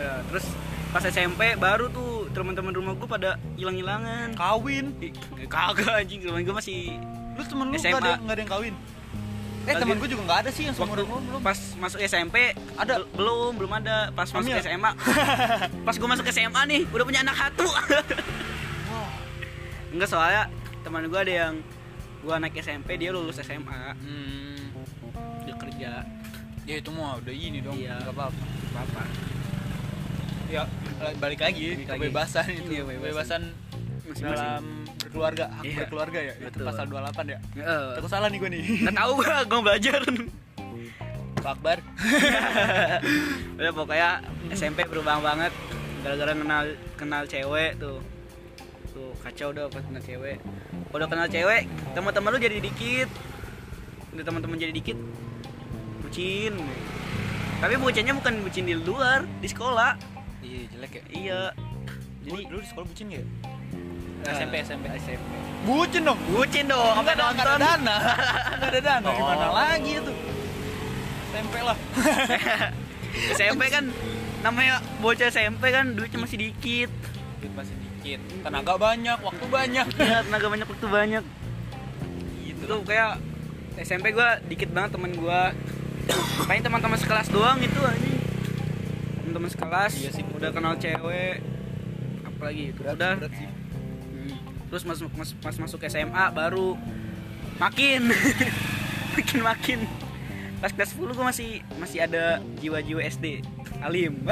S2: Ya, terus pas SMP baru tuh teman-teman rumah gua pada hilang-hilangan.
S1: kawin
S2: Ih, Kagak anjing, teman gua masih
S1: lu temen lu
S2: SMA.
S1: gak ada, gak ada yang kawin eh
S2: Lagi-
S1: temen gue juga gak ada sih yang seumur
S2: waktu
S1: umur belum
S2: pas masuk SMP
S1: Ada?
S2: bel- belum belum ada pas masuk
S1: Hamil?
S2: SMA pas gue masuk SMA nih udah punya anak satu enggak soalnya teman gue ada yang gue anak SMP dia lulus SMA
S1: hmm,
S2: dia kerja
S1: ya itu mah udah ini dong
S2: Iya.
S1: Gak apa-apa
S2: apa
S1: ya balik lagi
S2: Balik lagi.
S1: kebebasan itu
S2: Iya,
S1: kebebasan
S2: kebebasan.
S1: dalam berkeluarga hak
S2: Iya.
S1: berkeluarga ya itu
S2: Betul.
S1: pasal 28 ya
S2: Heeh.
S1: Takut salah nih gue nih
S2: nggak tahu gue gue belajar
S1: Pak Akbar
S2: udah pokoknya SMP berubah banget gara-gara kenal kenal cewek tuh tuh kacau udah pas kenal cewek udah kenal cewek teman-teman lu jadi dikit udah teman-teman jadi dikit bucin tapi bucinnya bukan bucin di luar di sekolah
S1: iya jelek ya
S2: iya
S1: jadi
S2: jadi
S1: lu di sekolah bucin gak ya?
S2: Eh,
S1: SMP SMP
S2: SMP
S1: bucin dong
S2: Bucin dong, apa
S1: Nggak ada- nggak
S2: nonton?
S1: ada dana nggak ada dana gimana
S2: Oh.
S1: lagi itu tempe lah
S2: SMP kan namanya bocah SMP kan duitnya masih dikit.
S5: duit masih dikit tenaga banyak waktu banyak
S2: Ya, tenaga banyak waktu banyak. Gitu. Tuh kayak SMP gua dikit banget teman gua. Paling teman-teman sekelas doang itu aja. Teman-teman sekelas
S1: Iya sih, betul.
S2: udah kenal cewek apalagi itu udah
S1: berat sih
S2: Hmm. terus masuk mas, pas masuk SMA baru makin makin makin pas kelas 10 gue masih masih ada jiwa-jiwa SD alim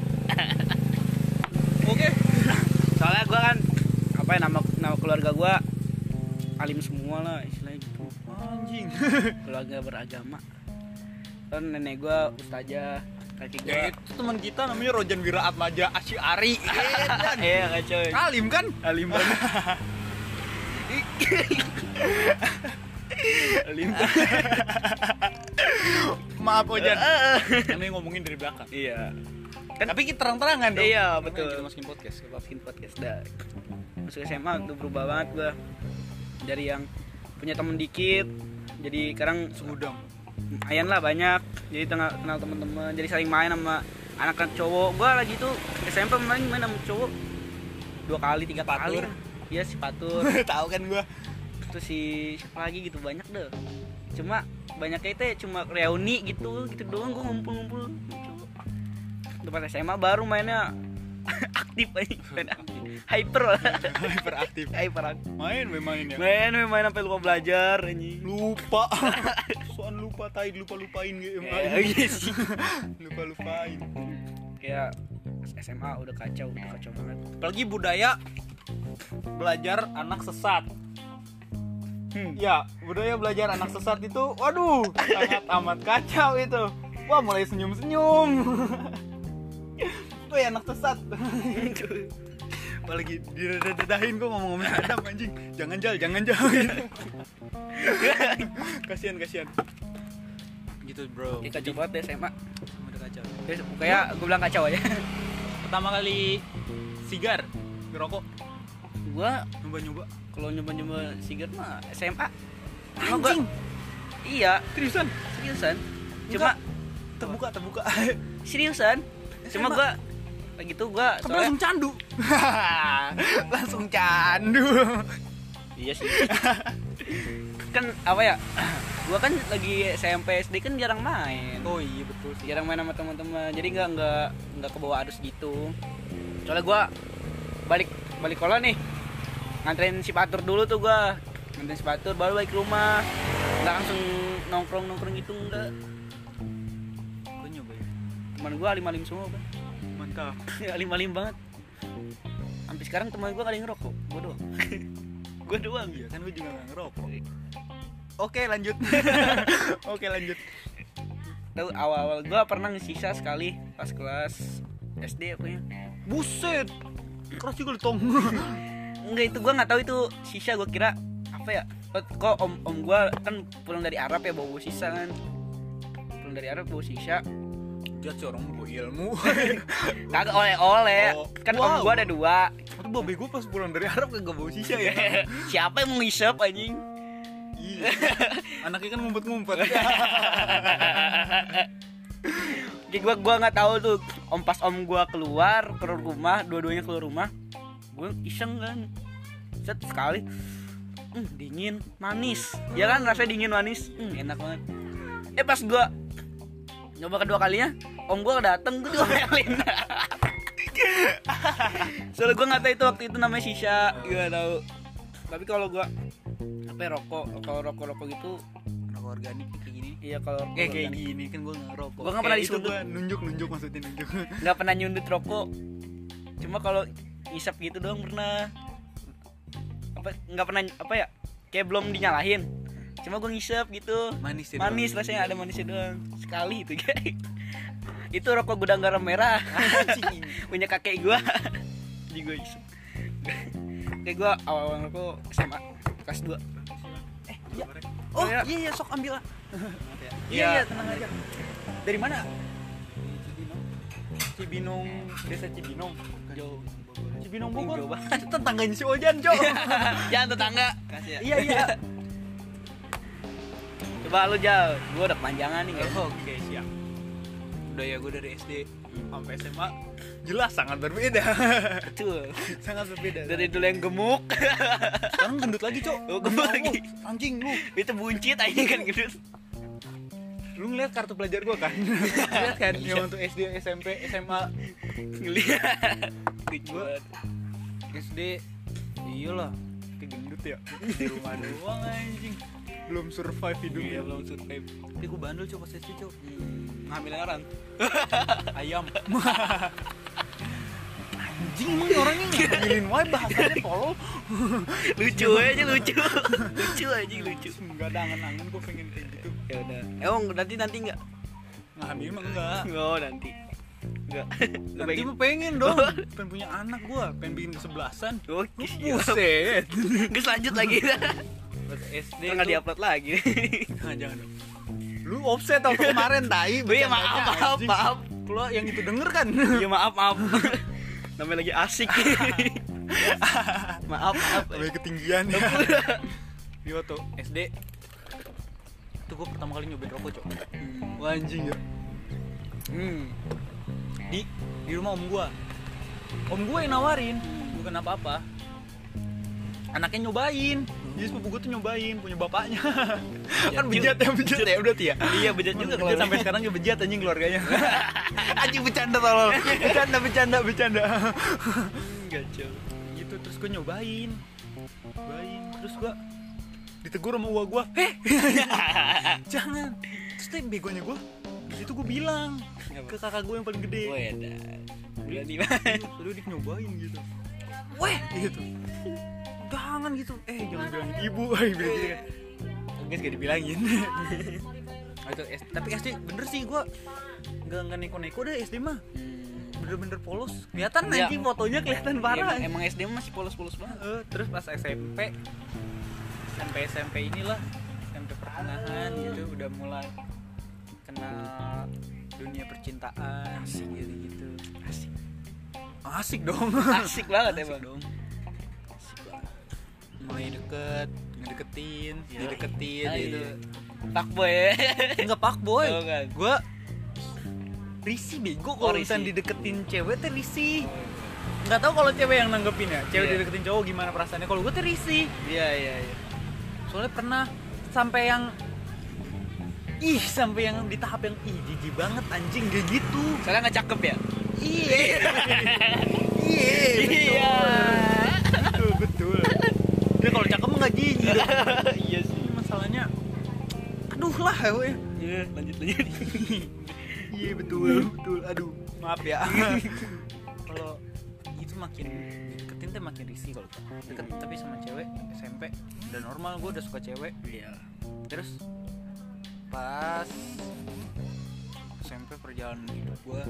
S1: oke
S2: soalnya gue kan apa ya nama nama keluarga gue alim semua lah istilahnya gitu
S1: anjing
S2: keluarga beragama kan nenek gue ustazah kaki
S1: ya
S2: gue
S1: itu teman kita namanya Rojan Wira Atmaja Asyari
S2: iya nggak coy
S1: alim kan
S2: alim banget alim banget
S1: maaf Ojan ini ngomongin dari belakang
S2: iya Kan-
S1: tapi kita terang-terangan dong Namanya
S2: Iya, betul.
S1: kita masukin podcast
S2: Sebab bikin podcast dah masuk SMA udah berubah banget gua dari yang punya temen dikit jadi sekarang
S1: segudang
S2: lumayan lah banyak jadi tengah kenal teman-teman jadi saling main sama anak-anak cowok gua lagi tuh SMP main main sama cowok dua kali tiga
S1: Patur.
S2: kali iya si patur
S1: tahu kan gua
S2: terus si siapa lagi gitu banyak deh cuma banyaknya itu ya cuma reuni gitu gitu doang gua ngumpul-ngumpul sama cowok tempat SMA baru mainnya aktif aja main aktif. hyper lah
S1: hyperaktif
S2: hyper aktif
S1: main we main ya
S2: main main main sampai lupa belajar anjing
S1: lupa soal lupa tai lupa lupain
S2: Eh, iya sih.
S1: lupa lupain
S2: kayak SMA udah kacau udah kacau banget
S1: apalagi budaya belajar anak sesat ya budaya belajar anak sesat itu waduh sangat amat kacau itu wah mulai senyum senyum Woi anak sesat apalagi diredahin kok ngomong ngomong Adam anjing jangan jal jangan jal gitu. kasihan kasihan
S5: gitu bro
S2: kayak kacau banget ya deh SMA
S5: udah kacau
S2: Terus kayak gue bilang kacau ya. aja
S5: pertama kali sigar
S1: ngerokok
S2: gua
S1: nyoba nyoba
S2: kalau nyoba-nyoba sigar mah SMA Emang gua- iya
S1: seriusan
S2: seriusan cuma
S1: terbuka terbuka
S2: seriusan cuma gua lagi tuh gua
S1: tapi
S2: soalnya
S1: langsung candu langsung candu
S2: iya sih kan apa ya gua kan lagi SMP SD kan jarang main
S1: oh iya betul sih
S2: jarang main sama teman-teman jadi nggak nggak nggak kebawa arus gitu soalnya gua balik balik kolam nih nganterin si Patur dulu tuh gua nganterin si Patur baru balik ke rumah nggak langsung nongkrong nongkrong gitu enggak
S5: gue nyobain
S2: teman gua alim alim semua kan
S1: mantap
S2: alim alim banget sampai sekarang teman gua kali ngerokok gua doang gua doang ya.
S1: iya kan gue juga nggak ngerokok oke lanjut oke lanjut
S2: tahu awal-awal gua pernah ngesisa sekali pas kelas SD apa ya
S1: buset keras juga lu tong
S2: enggak itu gua nggak tahu itu sisa gua kira apa ya Oh, kok om om gua kan pulang dari Arab ya bawa, bawa sisa kan pulang dari Arab bawa sisa
S1: dia sih orang bawa ilmu
S2: kagak oleh-oleh
S1: Oh,
S2: kan
S1: wow.
S2: om gua ada dua
S1: itu babe gue pas pulang dari Arab kagak bawa sisa ya
S2: siapa yang mau ngisep anjing
S1: Iya. anaknya kan ngumpet-ngumpet
S2: Jadi gua gua nggak tahu tuh om pas om gua keluar ke rumah dua-duanya keluar rumah gua iseng kan set sekali Hmm, dingin manis ya kan rasanya dingin manis Hmm, enak banget eh pas gua nyoba kedua kalinya om gua dateng tuh diomelin soalnya gua nggak tahu itu waktu itu namanya sisa gua nggak tahu tapi kalau gua apa ya, rokok kalau rokok rokok gitu
S1: anak organik kayak gini
S2: iya kalau
S1: kayak kayak gini kan gue ngerokok
S2: Gua nggak pernah
S1: Eh, itu
S2: disuruh.
S1: gue nunjuk nunjuk maksudnya nunjuk
S2: nggak pernah nyundut rokok cuma kalau ngisap gitu doang pernah apa nggak pernah apa ya kayak belum dinyalahin cuma gue ngisap gitu
S1: manis ya, sih
S2: manis rasanya ada manisnya doang sekali itu guys itu rokok gudang garam merah punya kakek gua jadi gue isep kayak gue awal awal rokok SMA kelas 2
S1: oh
S2: Iya.
S1: iya iya sok ambil lah
S2: Iya.
S1: iya iya tenang aja
S2: dari mana
S1: Cibinong Cibinong desa Cibinong jauh
S6: Cibinong
S2: Ini
S6: Bogor.
S2: jauh banget.
S6: Itu tetangganya si Ojan, Cok.
S7: Jangan tetangga.
S1: Kasih ya.
S6: iya, iya.
S2: Coba lu jauh, gua udah kepanjangan nih kan.
S1: Oh, Oke, siap. Udah ya gue dari SD
S6: Hmm,
S1: sampai SMA
S6: Jelas sangat berbeda.
S2: Betul.
S1: sangat berbeda.
S2: Dari dulu yang gemuk,
S6: Sekarang gendut lagi, Cok.
S2: Oh, gemuk
S6: Tahu,
S2: lagi.
S6: Anjing lu.
S2: itu buncit aja kan gitu.
S1: lu ngeliat kartu pelajar gue kan? Ngeliat kan yang untuk SD, SMP, SMA.
S2: Ngeliat. Lucu
S1: Gua-
S2: banget.
S1: SD iyalah kegendut ya di rumah doang anjing belum survive hidupnya Iya, Hmm. belum survive
S7: Tapi gue bandel coba pas SD cok.
S1: ngambil orang ayam
S6: Anjing emang orangnya enggak ngilin wae bahasanya tolol.
S2: Lucu aja lucu. Lucu aja lucu.
S1: nggak ada angan-angan gue pengen kayak gitu
S2: Ya udah. Emang nanti nanti enggak?
S1: ngambil mah enggak
S2: Oh, nanti. Enggak. Lu
S1: nanti
S2: pengen-
S1: mah pengen dong pengen punya anak gue pengen bikin kesebelasan
S2: Oke, siap.
S1: buset
S2: Guys Oh, iya. lanjut lagi.
S1: Iya. Pas SD
S2: Ntar nggak
S1: tuh-
S2: diupload lagi.
S1: Nah, jangan dong
S6: Lu offset aku kemarin tai.
S2: Gue ya maaf, maaf,
S6: Anjing.
S2: maaf.
S1: kalau yang itu denger kan
S2: Iya maaf, maaf. Namanya lagi asik. maaf, maaf.
S6: Sampai ketinggian.
S1: di Iya. waktu SD
S7: Itu gue pertama kali nyobain rokok cok.
S1: wah anjing ya
S7: Hmm. Di di rumah om gue. Om gue yang nawarin, bukan apa-apa. Anaknya nyobain.
S1: jadi sepupu gue tuh nyobain punya bapaknya Hmm. kan
S2: juga.
S1: bejat ya bejat ya berarti ya
S2: Iya bejat juga
S1: Bejat
S2: kalau
S1: sampai sekarang juga bejat anjing keluarganya
S6: Anjing bercanda tolol.
S1: bercanda bercanda bercanda gitu terus gue nyobain nyobain terus gue ditegur sama uwa gue heh jangan terus teh begonya gue itu gue bilang ke kakak gue yang paling gede
S2: Wadah. Berani banget.
S1: lu dik nyobain gitu weh gitu jangan gitu eh jangan bilangin ibu eh bilang gitu
S2: Iya.
S1: kan Enggak gak dibilangin
S2: Ah,
S1: Atau S- Tapi SD bener sih gue Gak, nggak neko-neko deh SD mah Bener-bener polos Kelihatan
S2: Hmm. Iya.
S1: anjing fotonya kelihatan parah
S2: Emang, emang SD masih polos-polos banget.
S1: Eh, terus pas SMP SMP SMP inilah SMP pertengahan gitu udah mulai kenal dunia percintaan gitu gitu asik asik dong
S2: Asik banget emang.
S1: dong mulai deket ngedeketin dideketin
S2: Ah,
S1: gitu
S2: iya. Fuckboy ya.
S1: nggak pak boy
S2: Oh, kan.
S1: gue risih bego
S2: Oh,
S1: kalau
S2: risih. Oh.
S1: misalnya dideketin cewek teh risih nggak tahu kalau cewek yang nanggepin ya cewek
S2: Iya.
S1: dideketin cowok gimana perasaannya kalau gue teh risih
S2: Iya, iya, iya.
S1: soalnya pernah sampai yang ih sampai yang di tahap yang ih jijik banget anjing kayak gitu
S2: Soalnya nggak cakep ya?
S1: iya iya
S2: Iya.
S1: betul betul dia kalau cakep mah nggak jijik dong.
S2: Iya sih.
S1: Ini masalahnya aduh lah ya weh.
S2: Iya, lanjut lanjut.
S1: iya betul betul aduh maaf ya kalau itu makin deketin teh makin risih kalau gua. deket tapi sama cewek SMP udah normal gue udah suka cewek
S2: Iya.
S1: terus pas SMP perjalanan hidup gue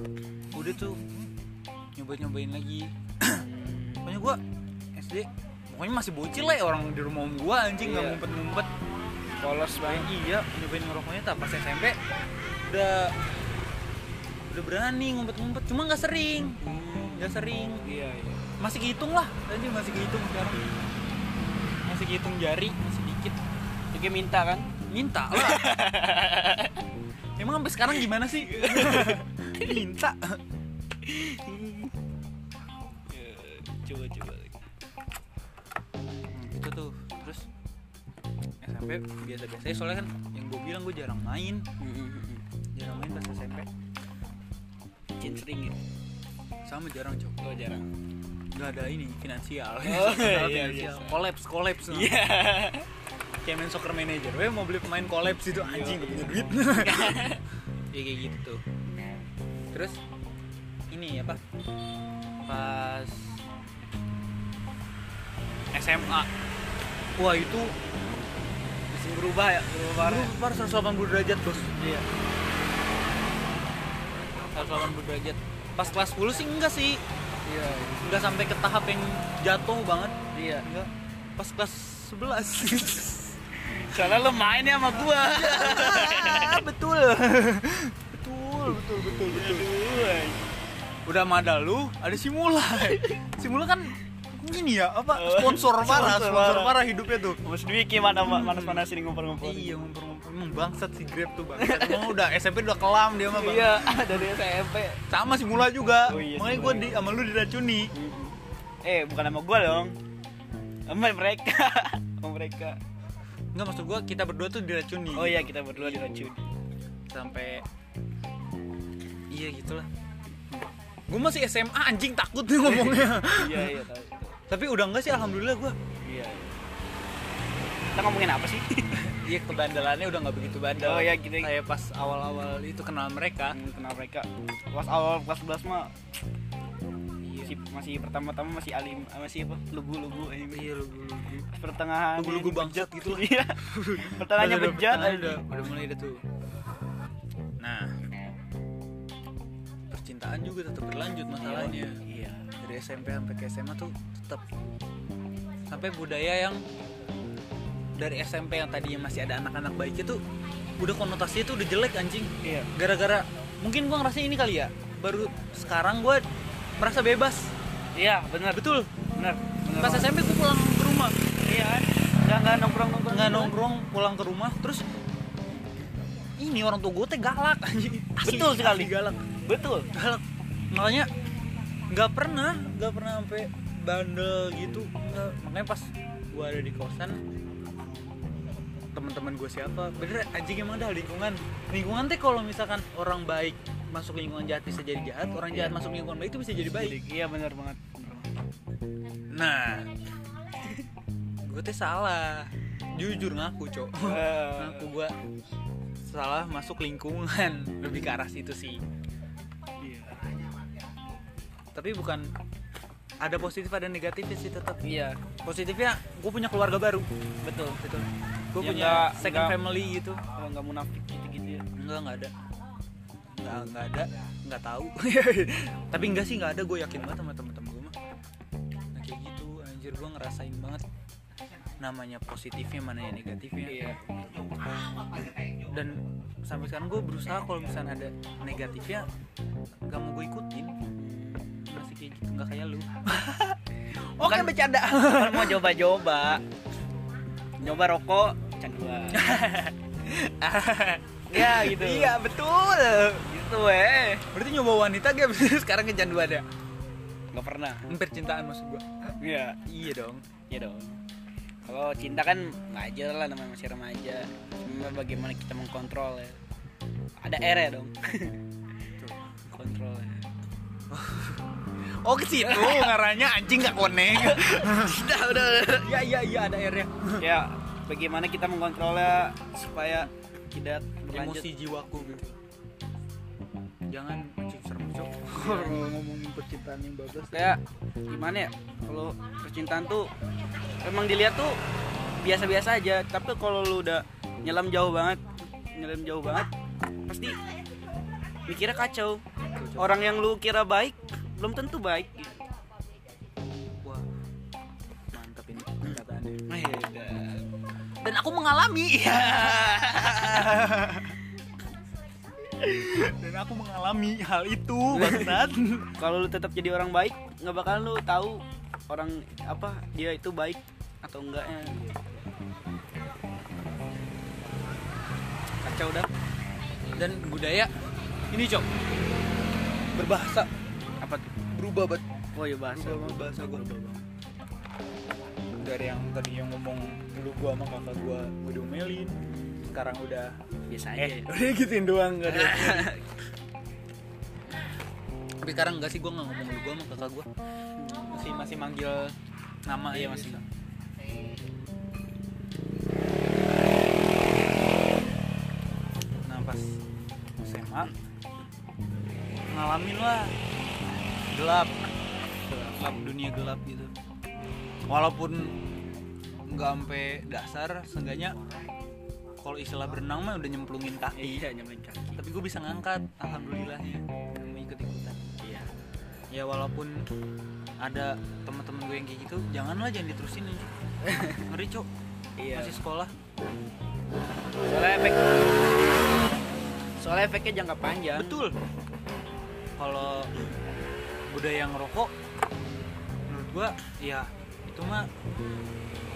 S1: udah tuh nyoba nyobain lagi pokoknya gue SD pokoknya masih bocil lah ya orang di rumah om gue anjing nggak
S2: Iya.
S1: ngumpet ngumpet polos banget iya nyobain ngerokoknya tak pas SMP udah udah berani ngumpet ngumpet cuma nggak sering
S2: Hmm.
S1: nggak sering
S2: Iya, iya.
S1: masih kehitung lah anjing masih kehitung sekarang masih kehitung jari masih dikit
S2: Oke minta kan?
S1: minta lah emang sampai sekarang gimana sih minta
S2: Ya, Coba coba.
S1: itu tuh terus SMP biasa-biasa aja, soalnya kan yang gue bilang gue jarang main
S2: Hmm.
S1: jarang main pas SMP
S2: Cincin sering ya?
S1: sama jarang cok
S2: Oh jarang.
S1: nggak ada ini finansial
S2: Oh,
S1: Soal
S2: iya,
S1: finansial.
S2: biasa.
S1: kolaps kolaps nah.
S2: Iya.
S1: kayak main soccer manager gue mau beli pemain kolaps itu
S2: Iya,
S1: anjing gak punya duit ya kayak gitu tuh terus ini apa pas SMA wah itu
S2: Masih berubah ya? Berubah parah.
S1: Lu par 180 derajat bos Iya 180 derajat Pas kelas 10 sih enggak sih
S2: Iya.
S1: Enggak sampai ke tahap yang jatuh banget
S2: Iya.
S1: Enggak Pas kelas 11
S2: Soalnya lo main ya sama gua.
S1: Iya, ah, Betul Betul, betul, betul, betul udah sama ada lu ada si mulai si mulai kan ini ya apa sponsor parah
S2: Oh, iya. Sponsor
S1: sponsor
S2: parah.
S1: parah hidupnya tuh
S2: Mas Dwiki mana mana panasin ngumpul-ngumpul.
S1: iya ngumpul-ngumpul emang bangsat si grab tuh bang emang udah SMP udah kelam dia mah bang
S2: Iya, dari SMP.
S1: sama si mula juga
S2: Oh, iya, si
S1: makanya
S2: Mula
S1: gue
S2: ya.
S1: di sama lu diracuni
S2: Eh, bukan sama gua dong. Sama mereka. Sama mereka.
S1: Enggak maksud gue kita berdua tuh diracuni
S2: Oh iya, kita berdua diracun.
S1: sampai iya gitulah gue masih SMA anjing takut nih ngomongnya
S2: Iya, iya, tahu.
S1: tapi udah enggak sih alhamdulillah gue
S2: Iya. iya. Kita ngomongin apa sih?
S1: iya kebandelannya udah nggak begitu bandel
S2: Oh, iya, gitu.
S1: kayak pas awal-awal itu kenal mereka
S2: Hmm, kenal mereka pas awal kelas 11 mah
S1: iya
S2: masih, masih pertama-tama masih alim eh, masih apa lugu-lugu ini
S1: iya lugu lugu
S2: pertengahan
S1: lugu lugu bangsat gitu lah
S2: iya pertengahannya
S1: Udah- udah-
S2: bejat
S1: udah-
S2: aja.
S1: udah, udah mulai ada tuh nah percintaan juga tetap berlanjut masalahnya
S2: iya
S1: dari SMP sampai ke SMA tuh tetap sampai budaya yang dari SMP yang tadinya masih ada anak-anak baiknya tuh udah konotasinya tuh udah jelek anjing
S2: iya
S1: gara-gara mungkin gua ngerasa ini kali ya baru sekarang gua merasa bebas
S2: iya benar betul benar benar
S1: pas SMP gua pulang ke rumah
S2: iya kan nggak nggak nongkrong nongkrong
S1: nggak nongkrong pulang ke rumah terus ini orang tua gue teh galak anjing Asli,
S2: Betul sekali.
S1: asli galak
S2: betul
S1: galak makanya nggak pernah nggak pernah sampai bandel gitu Nggak. makanya pas gue ada di kosan teman-teman gue siapa bener anjing emang ada lingkungan lingkungan teh kalau misalkan orang baik masuk lingkungan jahat bisa jadi jahat orang jahat masuk lingkungan baik itu bisa jadi baik
S2: iya benar banget
S1: nah gue teh salah jujur ngaku cok
S2: Eh,
S1: ngaku gue salah masuk lingkungan lebih ke arah situ sih
S2: iya.
S1: tapi bukan ada positif ada negatifnya sih tetap
S2: iya
S1: positifnya gue punya keluarga baru betul betul gue
S2: Ya,
S1: punya
S2: nggak-
S1: second
S2: nggak-
S1: family gitu
S2: kalau nggak munafik gitu gitu ya
S1: enggak enggak ada enggak enggak ada enggak tahu tapi enggak sih enggak ada gue yakin banget sama temen-temen gue mah nah, kayak gitu anjir gue ngerasain banget namanya positifnya mana yang negatifnya
S2: iya
S1: dan sampai sekarang gue berusaha kalau misalnya ada negatifnya nggak mau gue ikutin masih kayak gitu nggak kayak lu oke
S2: Bukan-
S1: bercanda
S2: Kan mau coba-coba nyoba rokok canduan ya gitu
S1: iya betul
S2: gitu eh
S1: berarti nyoba wanita gak bisa sekarang kecanduan ya
S2: nggak pernah
S1: percintaan maksud gue
S2: iya
S1: iya dong
S2: iya dong kalau cinta kan wajar lah namanya masih remaja cuma bagaimana kita mengkontrol ya ada R ya dong kontrol ya
S1: oh ke situ ngaranya anjing gak koneng
S2: udah udah, udah.
S1: ya iya iya ada airnya
S2: ya bagaimana kita mengkontrolnya supaya tidak berlanjut
S1: emosi jiwaku gitu jangan anjing serem cok
S8: ngomongin percintaan yang bagus
S2: Iya. kayak gimana ya kalau percintaan tuh emang dilihat tuh biasa-biasa aja tapi kalau lu udah nyelam jauh banget nyelam jauh banget pasti mikirnya kacau orang yang lu kira baik belum tentu baik
S1: wah mantap ini perkataannya
S2: Medan.
S1: iya. dan aku mengalami dan aku mengalami hal itu bangsat
S2: kalau lu tetap jadi orang baik nggak bakal lu tahu orang apa dia itu baik atau enggaknya kacau dah
S1: dan budaya ini cok berbahasa
S2: apa tuh
S1: berubah banget
S2: oh iya bahasa
S1: bahasa gue dari yang tadi yang ngomong dulu gua sama kakak gua gua diomelin sekarang udah
S2: biasa aja
S1: eh
S2: ya.
S1: udah gituin doang gak ada tapi sekarang enggak sih gua nggak ngomong dulu gua sama kakak gua masih masih manggil nama ya masih nah pas SMA ngalamin lah gelap gelap dunia gelap gitu walaupun nggak sampai dasar seenggaknya kalau istilah berenang mah udah nyemplungin kaki
S2: iya nyamain kaki
S1: tapi gue bisa ngangkat alhamdulillahnya mau ikut ikutan
S2: iya
S1: ya walaupun ada teman-teman gue yang kayak gitu janganlah jangan diterusin ini ngeri cok
S2: iya
S4: Ya.
S1: masih sekolah
S2: soalnya efek
S4: Ya.
S2: soalnya efeknya jangka panjang
S1: betul kalau udah yang ngerokok menurut gua ya itu mah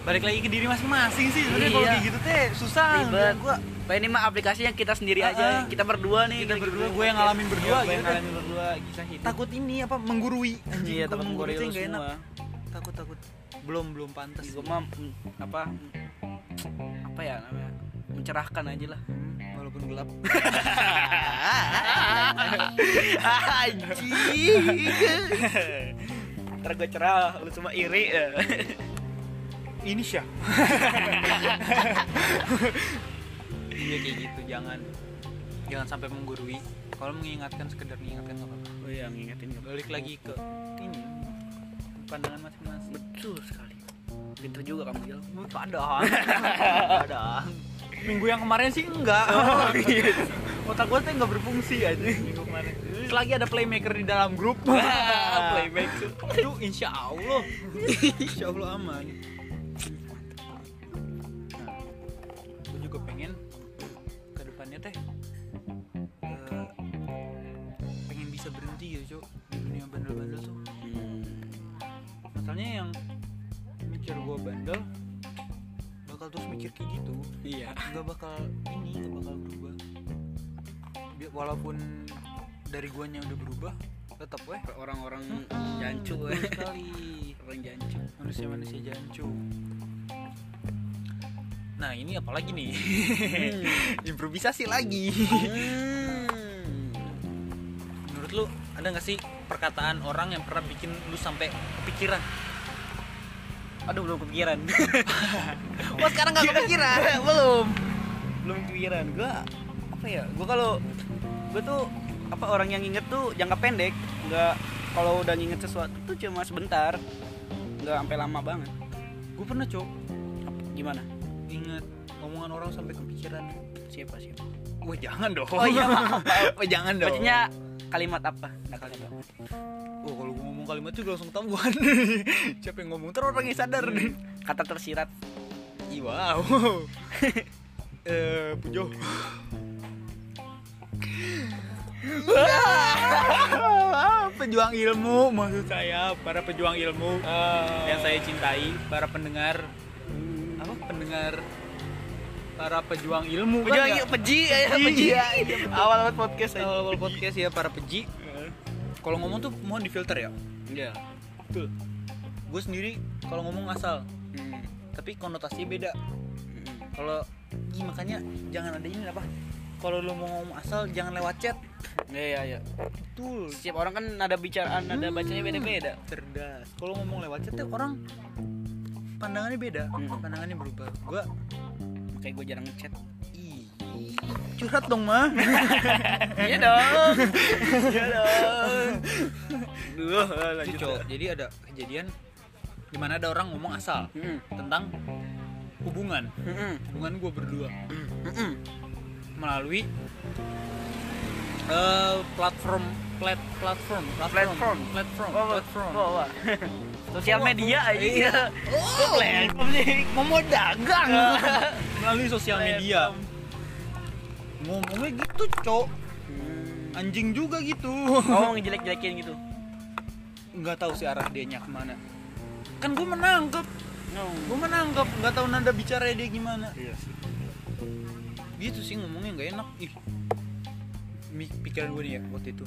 S1: balik lagi ke diri masing-masing sih sebenarnya kalau
S4: Iya.
S1: kayak gitu teh susah
S4: Ribet.
S1: menurut gua
S4: Pak ini mah aplikasinya kita sendiri
S1: Ah,
S4: aja.
S1: ah.
S4: Kita berdua nih.
S1: kita
S4: kayak
S1: berdua
S4: gitu.
S1: gue yang ngalamin berdua
S2: gue
S1: gitu
S2: yang
S1: kan
S2: ngalamin berdua kisah hidup
S1: takut ini apa menggurui anjing
S4: Iya,
S1: kalau
S4: takut
S1: menggurui
S4: menggoreng
S1: tuh
S4: lu
S1: nggak enak
S4: semua.
S1: takut takut belum belum pantas
S4: Gue mah mm, apa apa ya namanya? Mencerahkan aja lah.
S1: Hmm, walaupun gelap
S4: Anjing.
S2: ntar gue cerah lu cuma iri
S1: ini sih ya? iya kayak gitu jangan jangan sampai menggurui kalau mengingatkan sekedar mengingatkan nggak apa-apa
S2: oh iya ngingetin gak
S1: balik lagi ke ini pandangan masing-masing
S4: Betul sekali. Pinter juga kamu Jel.
S1: padahal padahal minggu yang kemarin sih enggak iya. otak gue tuh nggak berfungsi aja minggu kemarin lagi ada playmaker di dalam grup
S2: playback
S1: itu insya Allah insya Allah aman nah, gue juga pengen ke depannya teh eh, pengen bisa berhenti gitu cok di dunia bandel-bandel tuh Hmm. masalahnya yang mikir gue bandel bakal terus mikir kayak gitu
S2: iya
S1: nggak bakal ini nggak bakal berubah Bi- walaupun dari guanya udah berubah tetap weh
S2: orang-orang
S1: jancu
S4: eh.
S2: jancu
S1: sekali
S2: orang jancu
S1: manusia manusia jancu nah ini apalagi nih improvisasi lagi Hmm. menurut lu ada nggak sih perkataan orang yang pernah bikin lu sampai kepikiran
S2: aduh belum kepikiran
S1: wah sekarang nggak kepikiran belum
S2: Iya. belum kepikiran gue apa ya gue kalau gue tuh apa orang yang inget tuh jangka pendek nggak kalau udah nginget sesuatu tuh cuma sebentar nggak sampai lama banget
S1: gue pernah cok
S2: Ap- gimana
S1: inget omongan orang sampai kepikiran
S2: siapa siapa
S1: wah jangan dong
S2: Oh iya, maaf,
S1: wah jangan dong
S2: maksudnya kalimat apa kalimat
S1: oh kalau gue ngomong kalimat juga langsung ketahuan siapa yang ngomong terus orang yang sadar nih
S2: kata tersirat
S1: Ih, wow. eh, Pujo.
S2: Iya.
S1: pejuang ilmu maksud saya para pejuang ilmu
S2: Eh.
S1: yang saya cintai para pendengar apa pendengar para pejuang ilmu
S4: Pejuang
S1: kan,
S4: yuk, peji, eh,
S2: Iya,
S4: peji. Awal awal podcast aja.
S1: awal podcast ya para peji kalau ngomong tuh mohon difilter ya
S2: enggak
S1: betul gue sendiri kalau ngomong asal
S2: Hmm,
S1: tapi konotasinya beda kalau ih, makanya jangan ada ini apa kalau lu mau ngomong asal jangan lewat chat
S2: iya iya
S1: betul
S2: setiap orang kan ada bicaraan ada bacanya beda beda
S1: cerdas kalau ngomong lewat chat tuh orang pandangannya beda
S2: Hmm.
S1: pandangannya berubah gua
S2: makanya gue jarang ngechat
S1: ih curhat dong mah
S2: iya dong iya dong duh
S1: Itu,
S2: lanjut
S1: Cok. jadi ada kejadian dimana ada orang ngomong asal
S2: Hmm.
S1: tentang hubungan
S2: Mm-mm.
S1: hubungan gue berdua
S4: Hmm.
S1: melalui eh, platform plat, platform
S4: Platform.
S1: platform platform
S4: Wah, wah,
S1: platform
S4: wah, wah. Sosial
S1: Wah,
S4: media
S1: wah,
S4: aja.
S1: iya.
S4: Kok platform sih? Mau mau dagang.
S1: melalui sosial media ngomongnya gitu cok anjing juga gitu
S4: Mau Hmm. ngejelek-jelekin gitu.
S1: nggak tahu sih arah dia kemana kan gue menangkep
S4: No.
S1: gue menangkep nggak tahu nada bicaranya dia gimana gitu sih ngomongnya nggak enak ih mi- pikiran gue nih ya waktu itu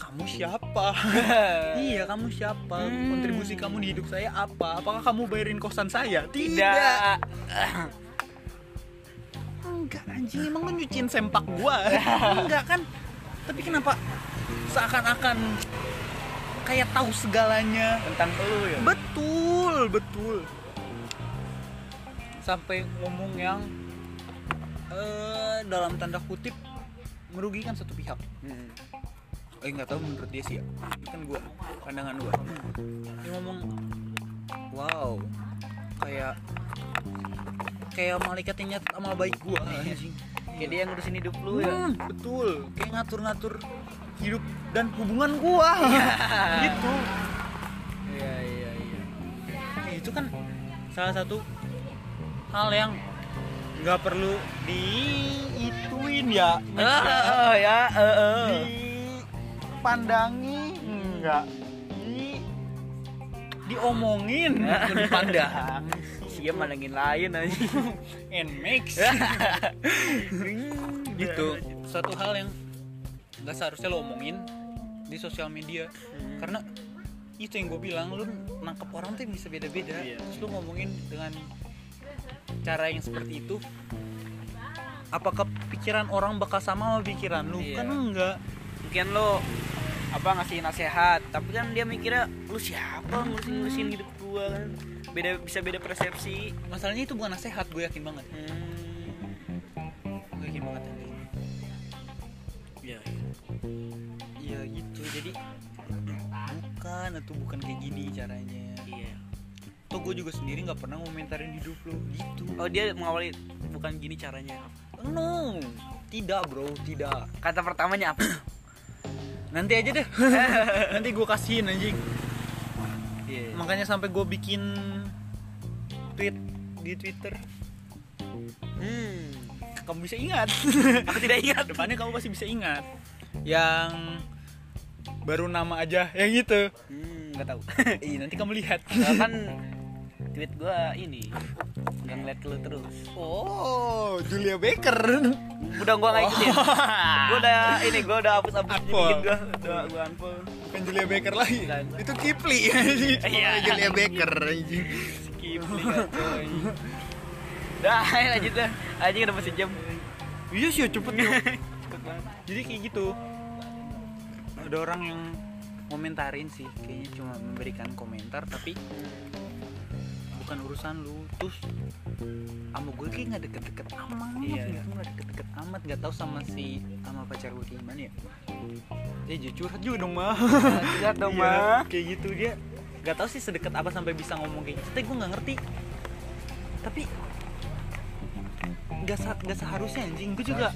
S1: kamu siapa iya kamu siapa kontribusi kamu di hidup saya apa apakah kamu bayarin kosan saya tidak
S4: Tidak.
S1: enggak anjing emang lu nyuciin sempak gua enggak kan tapi kenapa seakan-akan kayak tahu segalanya
S2: tentang lu ya
S1: betul betul sampai ngomong yang eh dalam tanda kutip merugikan satu pihak
S4: Hmm.
S1: eh nggak tahu menurut dia sih ya. Itu kan gua pandangan gua dia ngomong wow kayak kayak malaikat yang nyatet amal baik gua anjing
S4: Kayak dia yang ngurusin hidup lu ya.
S1: Hmm, betul kayak ngatur-ngatur hidup dan hubungan gua gitu
S4: Iya, iya, iya.
S1: Ya, itu kan salah satu hal yang nggak perlu diituin ya Oh,
S4: Ah, ya, eh, eh.
S1: dipandangi hmm, nggak di diomongin ke depan
S4: Ah,
S1: dahang
S2: Dia mandangin lain aja.
S1: and mix gitu satu hal yang nggak seharusnya lo omongin di sosial media
S4: Hmm.
S1: karena itu yang gue bilang lu nangkep orang tuh bisa beda-beda
S4: Iya.
S1: terus lu ngomongin dengan cara yang seperti itu apakah pikiran orang bakal sama sama pikiran lu
S2: Iya.
S1: kan enggak
S2: Mungkin lo apa ngasih nasihat, tapi kan dia mikirnya lu siapa ngurusin ngurusin hidup gua kan. Beda bisa beda persepsi.
S1: masalahnya itu bukan nasehat gue yakin banget
S2: Hmm.
S1: gue yakin banget yang kayak gitu.
S4: Iya.
S1: iya gitu jadi bukan atau bukan kayak gini caranya
S4: Iya.
S1: tuh gue juga sendiri nggak pernah ngomentarin hidup lu gitu
S2: Oh, dia mengawali bukan gini caranya.
S1: no tidak bro tidak
S2: Kata pertamanya apa?
S1: nanti aja deh nanti gue kasihin anjing
S2: Iya.
S1: makanya sampai gue bikin tweet di twitter
S2: Hmm.
S1: kamu bisa ingat
S2: Aku tidak ingat.
S1: depannya kamu pasti bisa ingat yang baru nama aja yang itu
S2: Hmm, enggak tahu.
S1: Ih, nanti kamu lihat
S2: Soalnya kan tweet gua ini nggak ngeliat ke lu terus
S1: oh Julia Baker
S2: udah gua nggak ikutin gua udah ini gua udah hapus hapus
S1: Unfollow.
S2: dikit gua udah gua unfollow
S1: bukan Julia Baker lagi
S2: Bukan.
S1: itu Kipli iya Julia Baker anjing.
S2: skip nih kacau ini. dah ayo lanjut dah aja udah masih jam
S1: iya sih cepet yuk
S2: cepet banget
S1: jadi kayak gitu ada orang yang komentarin sih kayaknya cuma memberikan komentar tapi bukan urusan lu terus sama gue kayak nggak deket-deket amat
S2: Iya.
S1: iya. nggak deket-deket amat nggak tahu sama si sama pacar gue kayak gimana ya eh jadi curhat juga dong mah
S2: lihat dong
S1: Iya,
S2: mah
S1: kayak gitu dia nggak tahu sih sedekat apa sampai bisa ngomong kayak gitu tapi gue nggak ngerti tapi nggak sa- nggak seharusnya anjing gue juga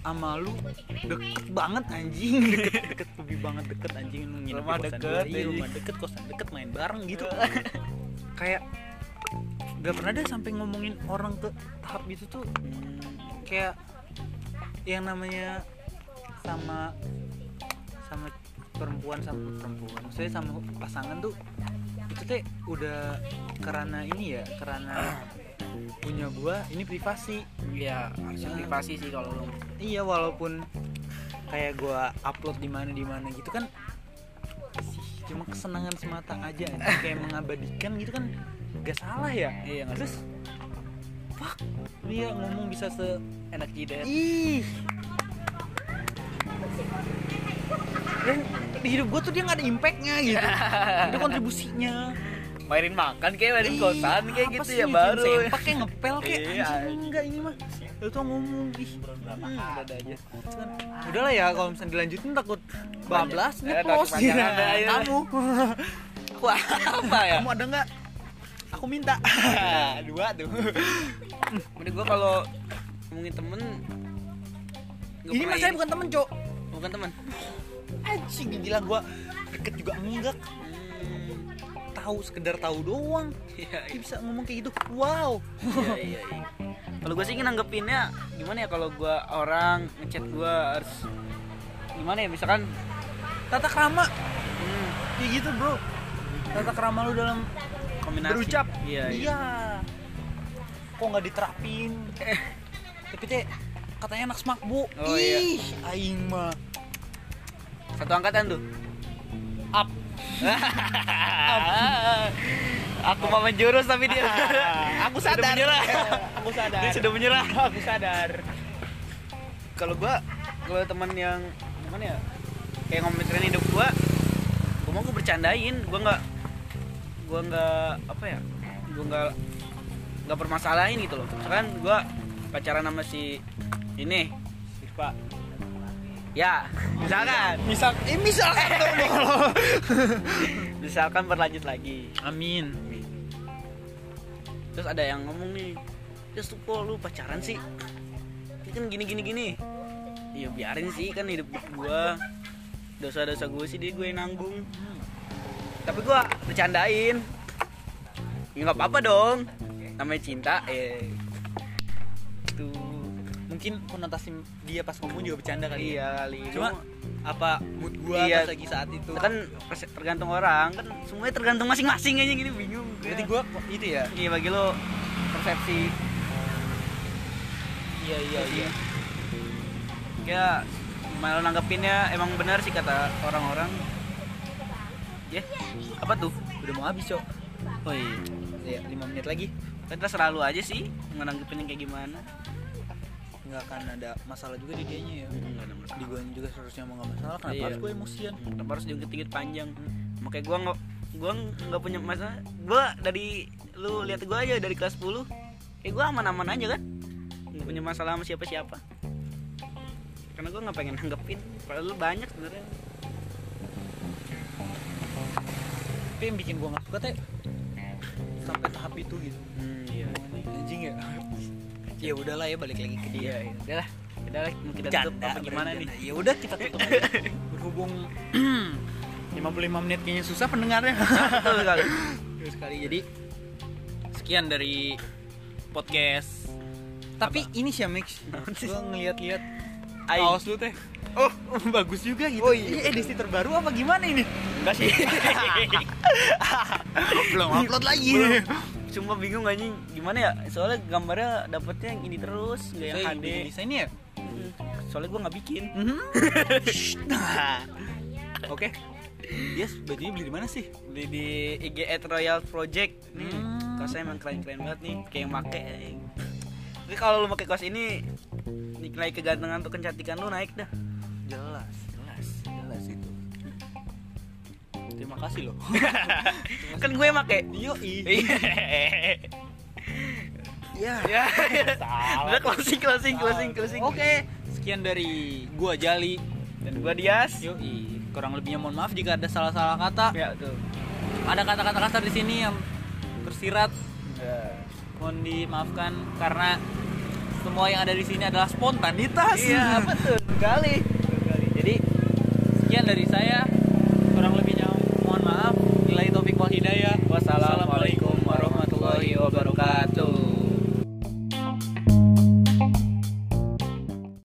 S1: sama lu deket banget anjing deket deket lebih banget deket anjing lu nginep di
S2: Rumah
S1: kosan
S2: deket,
S1: gua, iya,
S2: anjing. Iya.
S1: rumah deket kosan deket main bareng gitu kayak nggak pernah deh sampai ngomongin orang ke tahap gitu tuh kayak yang namanya sama sama perempuan sama perempuan maksudnya sama pasangan tuh itu teh udah karena ini ya karena punya gua ini privasi
S2: iya harusnya privasi sih kalau lu
S1: iya walaupun kayak gua upload di mana di mana gitu kan sih, cuma kesenangan semata aja anjing. kayak mengabadikan gitu kan gak salah ya
S2: iya nggak
S1: terus fuck dia ngomong bisa se
S2: enak jidat
S1: ih dan di hidup gue tuh dia nggak ada impactnya gitu ada kontribusinya
S2: mainin makan kayak mainin kosan kayak
S1: Apa
S2: gitu
S1: sih
S2: ya
S1: ini?
S2: baru
S1: Cuma sempak kayak ngepel kayak
S2: Iya,
S1: anjing enggak ini mah lu tuh ngomong ih
S2: Ah,
S1: hmm, ada aja Terus kan, udahlah ya kalau misalnya dilanjutin takut bablas
S2: Banyak. Eh,
S1: ngepos
S2: takut
S1: gitu
S2: panjangan dah, ayo.
S1: kamu
S2: aku apa ya
S1: kamu ada nggak aku minta dua tuh
S2: menurut gua kalau ngomongin temen nggak
S1: ini
S2: pernah
S1: masalahnya bukan temen cok
S2: bukan teman
S1: anjing gila gua deket juga enggak Hmm. tahu sekedar tahu doang
S2: iya
S1: dia bisa ngomong kayak gitu wow
S2: iya iya iya. kalau gue sih nanggepinnya gimana ya kalau gue orang ngechat gue harus gimana ya misalkan
S1: tata krama
S2: hmm,
S1: kayak gitu bro tata krama lu dalam
S2: kombinasi
S1: berucap
S2: iya iya
S1: iya kok nggak diterapin tapi teh katanya anak smak bu
S2: Oh,
S1: ih aing mah
S2: satu angkatan tuh
S1: up
S2: aku mau menjurus tapi dia
S1: aku sadar
S2: menyerah.
S1: aku sadar
S2: dia sudah menyerah
S1: aku sadar
S2: kalau gue kalau teman yang gimana ya kayak ngomentarin hidup gue gue mau gue bercandain gue nggak gue nggak apa ya gue nggak nggak permasalahin gitu loh misalkan gue pacaran sama si ini
S1: Sirpa
S2: ya misalkan
S1: misal eh misal
S2: misalkan berlanjut lagi
S1: amin
S2: terus ada yang ngomong nih terus tuh kok lu pacaran sih ini kan gini gini gini ya biarin sih kan hidup gua dosa dosa gue sih dia gue yang nanggung tapi gua bercandain ya nggak apa apa dong namanya cinta eh tuh
S1: mungkin mungkin konotasi dia pas ngomong juga bercanda kali ya
S2: iya kali
S1: cuma apa mood gua
S2: Iya.
S1: pas lagi saat itu
S2: kan pers- tergantung orang kan semuanya tergantung masing-masing aja gini bingung gue.
S1: berarti gua kok itu ya
S2: iya bagi lo persepsi
S1: iya iya iya
S2: ya gimana lo nanggepinnya emang benar sih kata orang-orang ya apa tuh
S1: udah mau habis cok
S2: oh
S1: ya
S2: iya
S1: lima menit lagi
S2: kan kita selalu aja sih menanggepinnya kayak gimana
S1: nggak akan ada masalah juga di dianya ya
S2: nggak ada masalah
S1: di gua juga seharusnya mau nggak masalah kenapa
S2: Iya.
S1: harus gua emosian
S2: Kenapa harus diungkit-ungkit panjang makanya gua nggak gua nggak punya masalah gua dari lu lihat gua aja dari kelas 10 kayak gua aman-aman aja kan nggak punya masalah sama siapa-siapa karena gua nggak pengen nanggepin padahal lu banyak sebenarnya
S1: tapi yang bikin gua nggak suka teh sampai tahap itu gitu
S2: iya
S1: anjing ya ya udahlah ya balik lagi ke dia
S2: iya udahlah udahlah mau kita tutup
S1: Bercanda,
S2: apa gimana nih
S1: bercanda. ya udah kita tutup aja berhubung 55 menit kayaknya susah pendengarnya
S2: betul sekali
S1: Terus sekali jadi sekian dari podcast tapi ini sih ya mix gue ngeliat-liat
S2: Aing.
S1: kaos lu teh oh bagus juga gitu ini edisi terbaru apa gimana ini
S2: enggak sih
S1: belum upload lagi
S2: Belum. cuma bingung anjing gimana ya soalnya gambarnya dapetnya yang ini terus nggak yang
S1: Saya
S2: HD
S1: bikin desainnya ya
S2: Mm. soalnya gua nggak bikin
S1: Mhm. oke yes bajunya beli di mana sih
S2: beli di IG at Royal Project nih
S1: Hmm.
S2: kaosnya emang keren-keren banget nih kayak yang make tapi kalau lu pakai kaos ini nilai kegantengan atau kecantikan lu naik dah
S1: jelas jelas jelas itu terima kasih loh
S2: kan gue yang make
S1: yo ya
S2: ya udah closing closing closing closing
S1: Oke, sekian dari gua Jali.
S2: dan gua Dias
S1: Yoi, kurang lebihnya mohon maaf jika ada salah-salah kata.
S2: ya tuh
S1: Ada kata-kata kasar di sini yang tersirat.
S2: Iya.
S1: Mohon dimaafkan karena semua yang ada di sini adalah spontanitas.
S2: iya betul sekali
S1: Jadi sekian dari saya.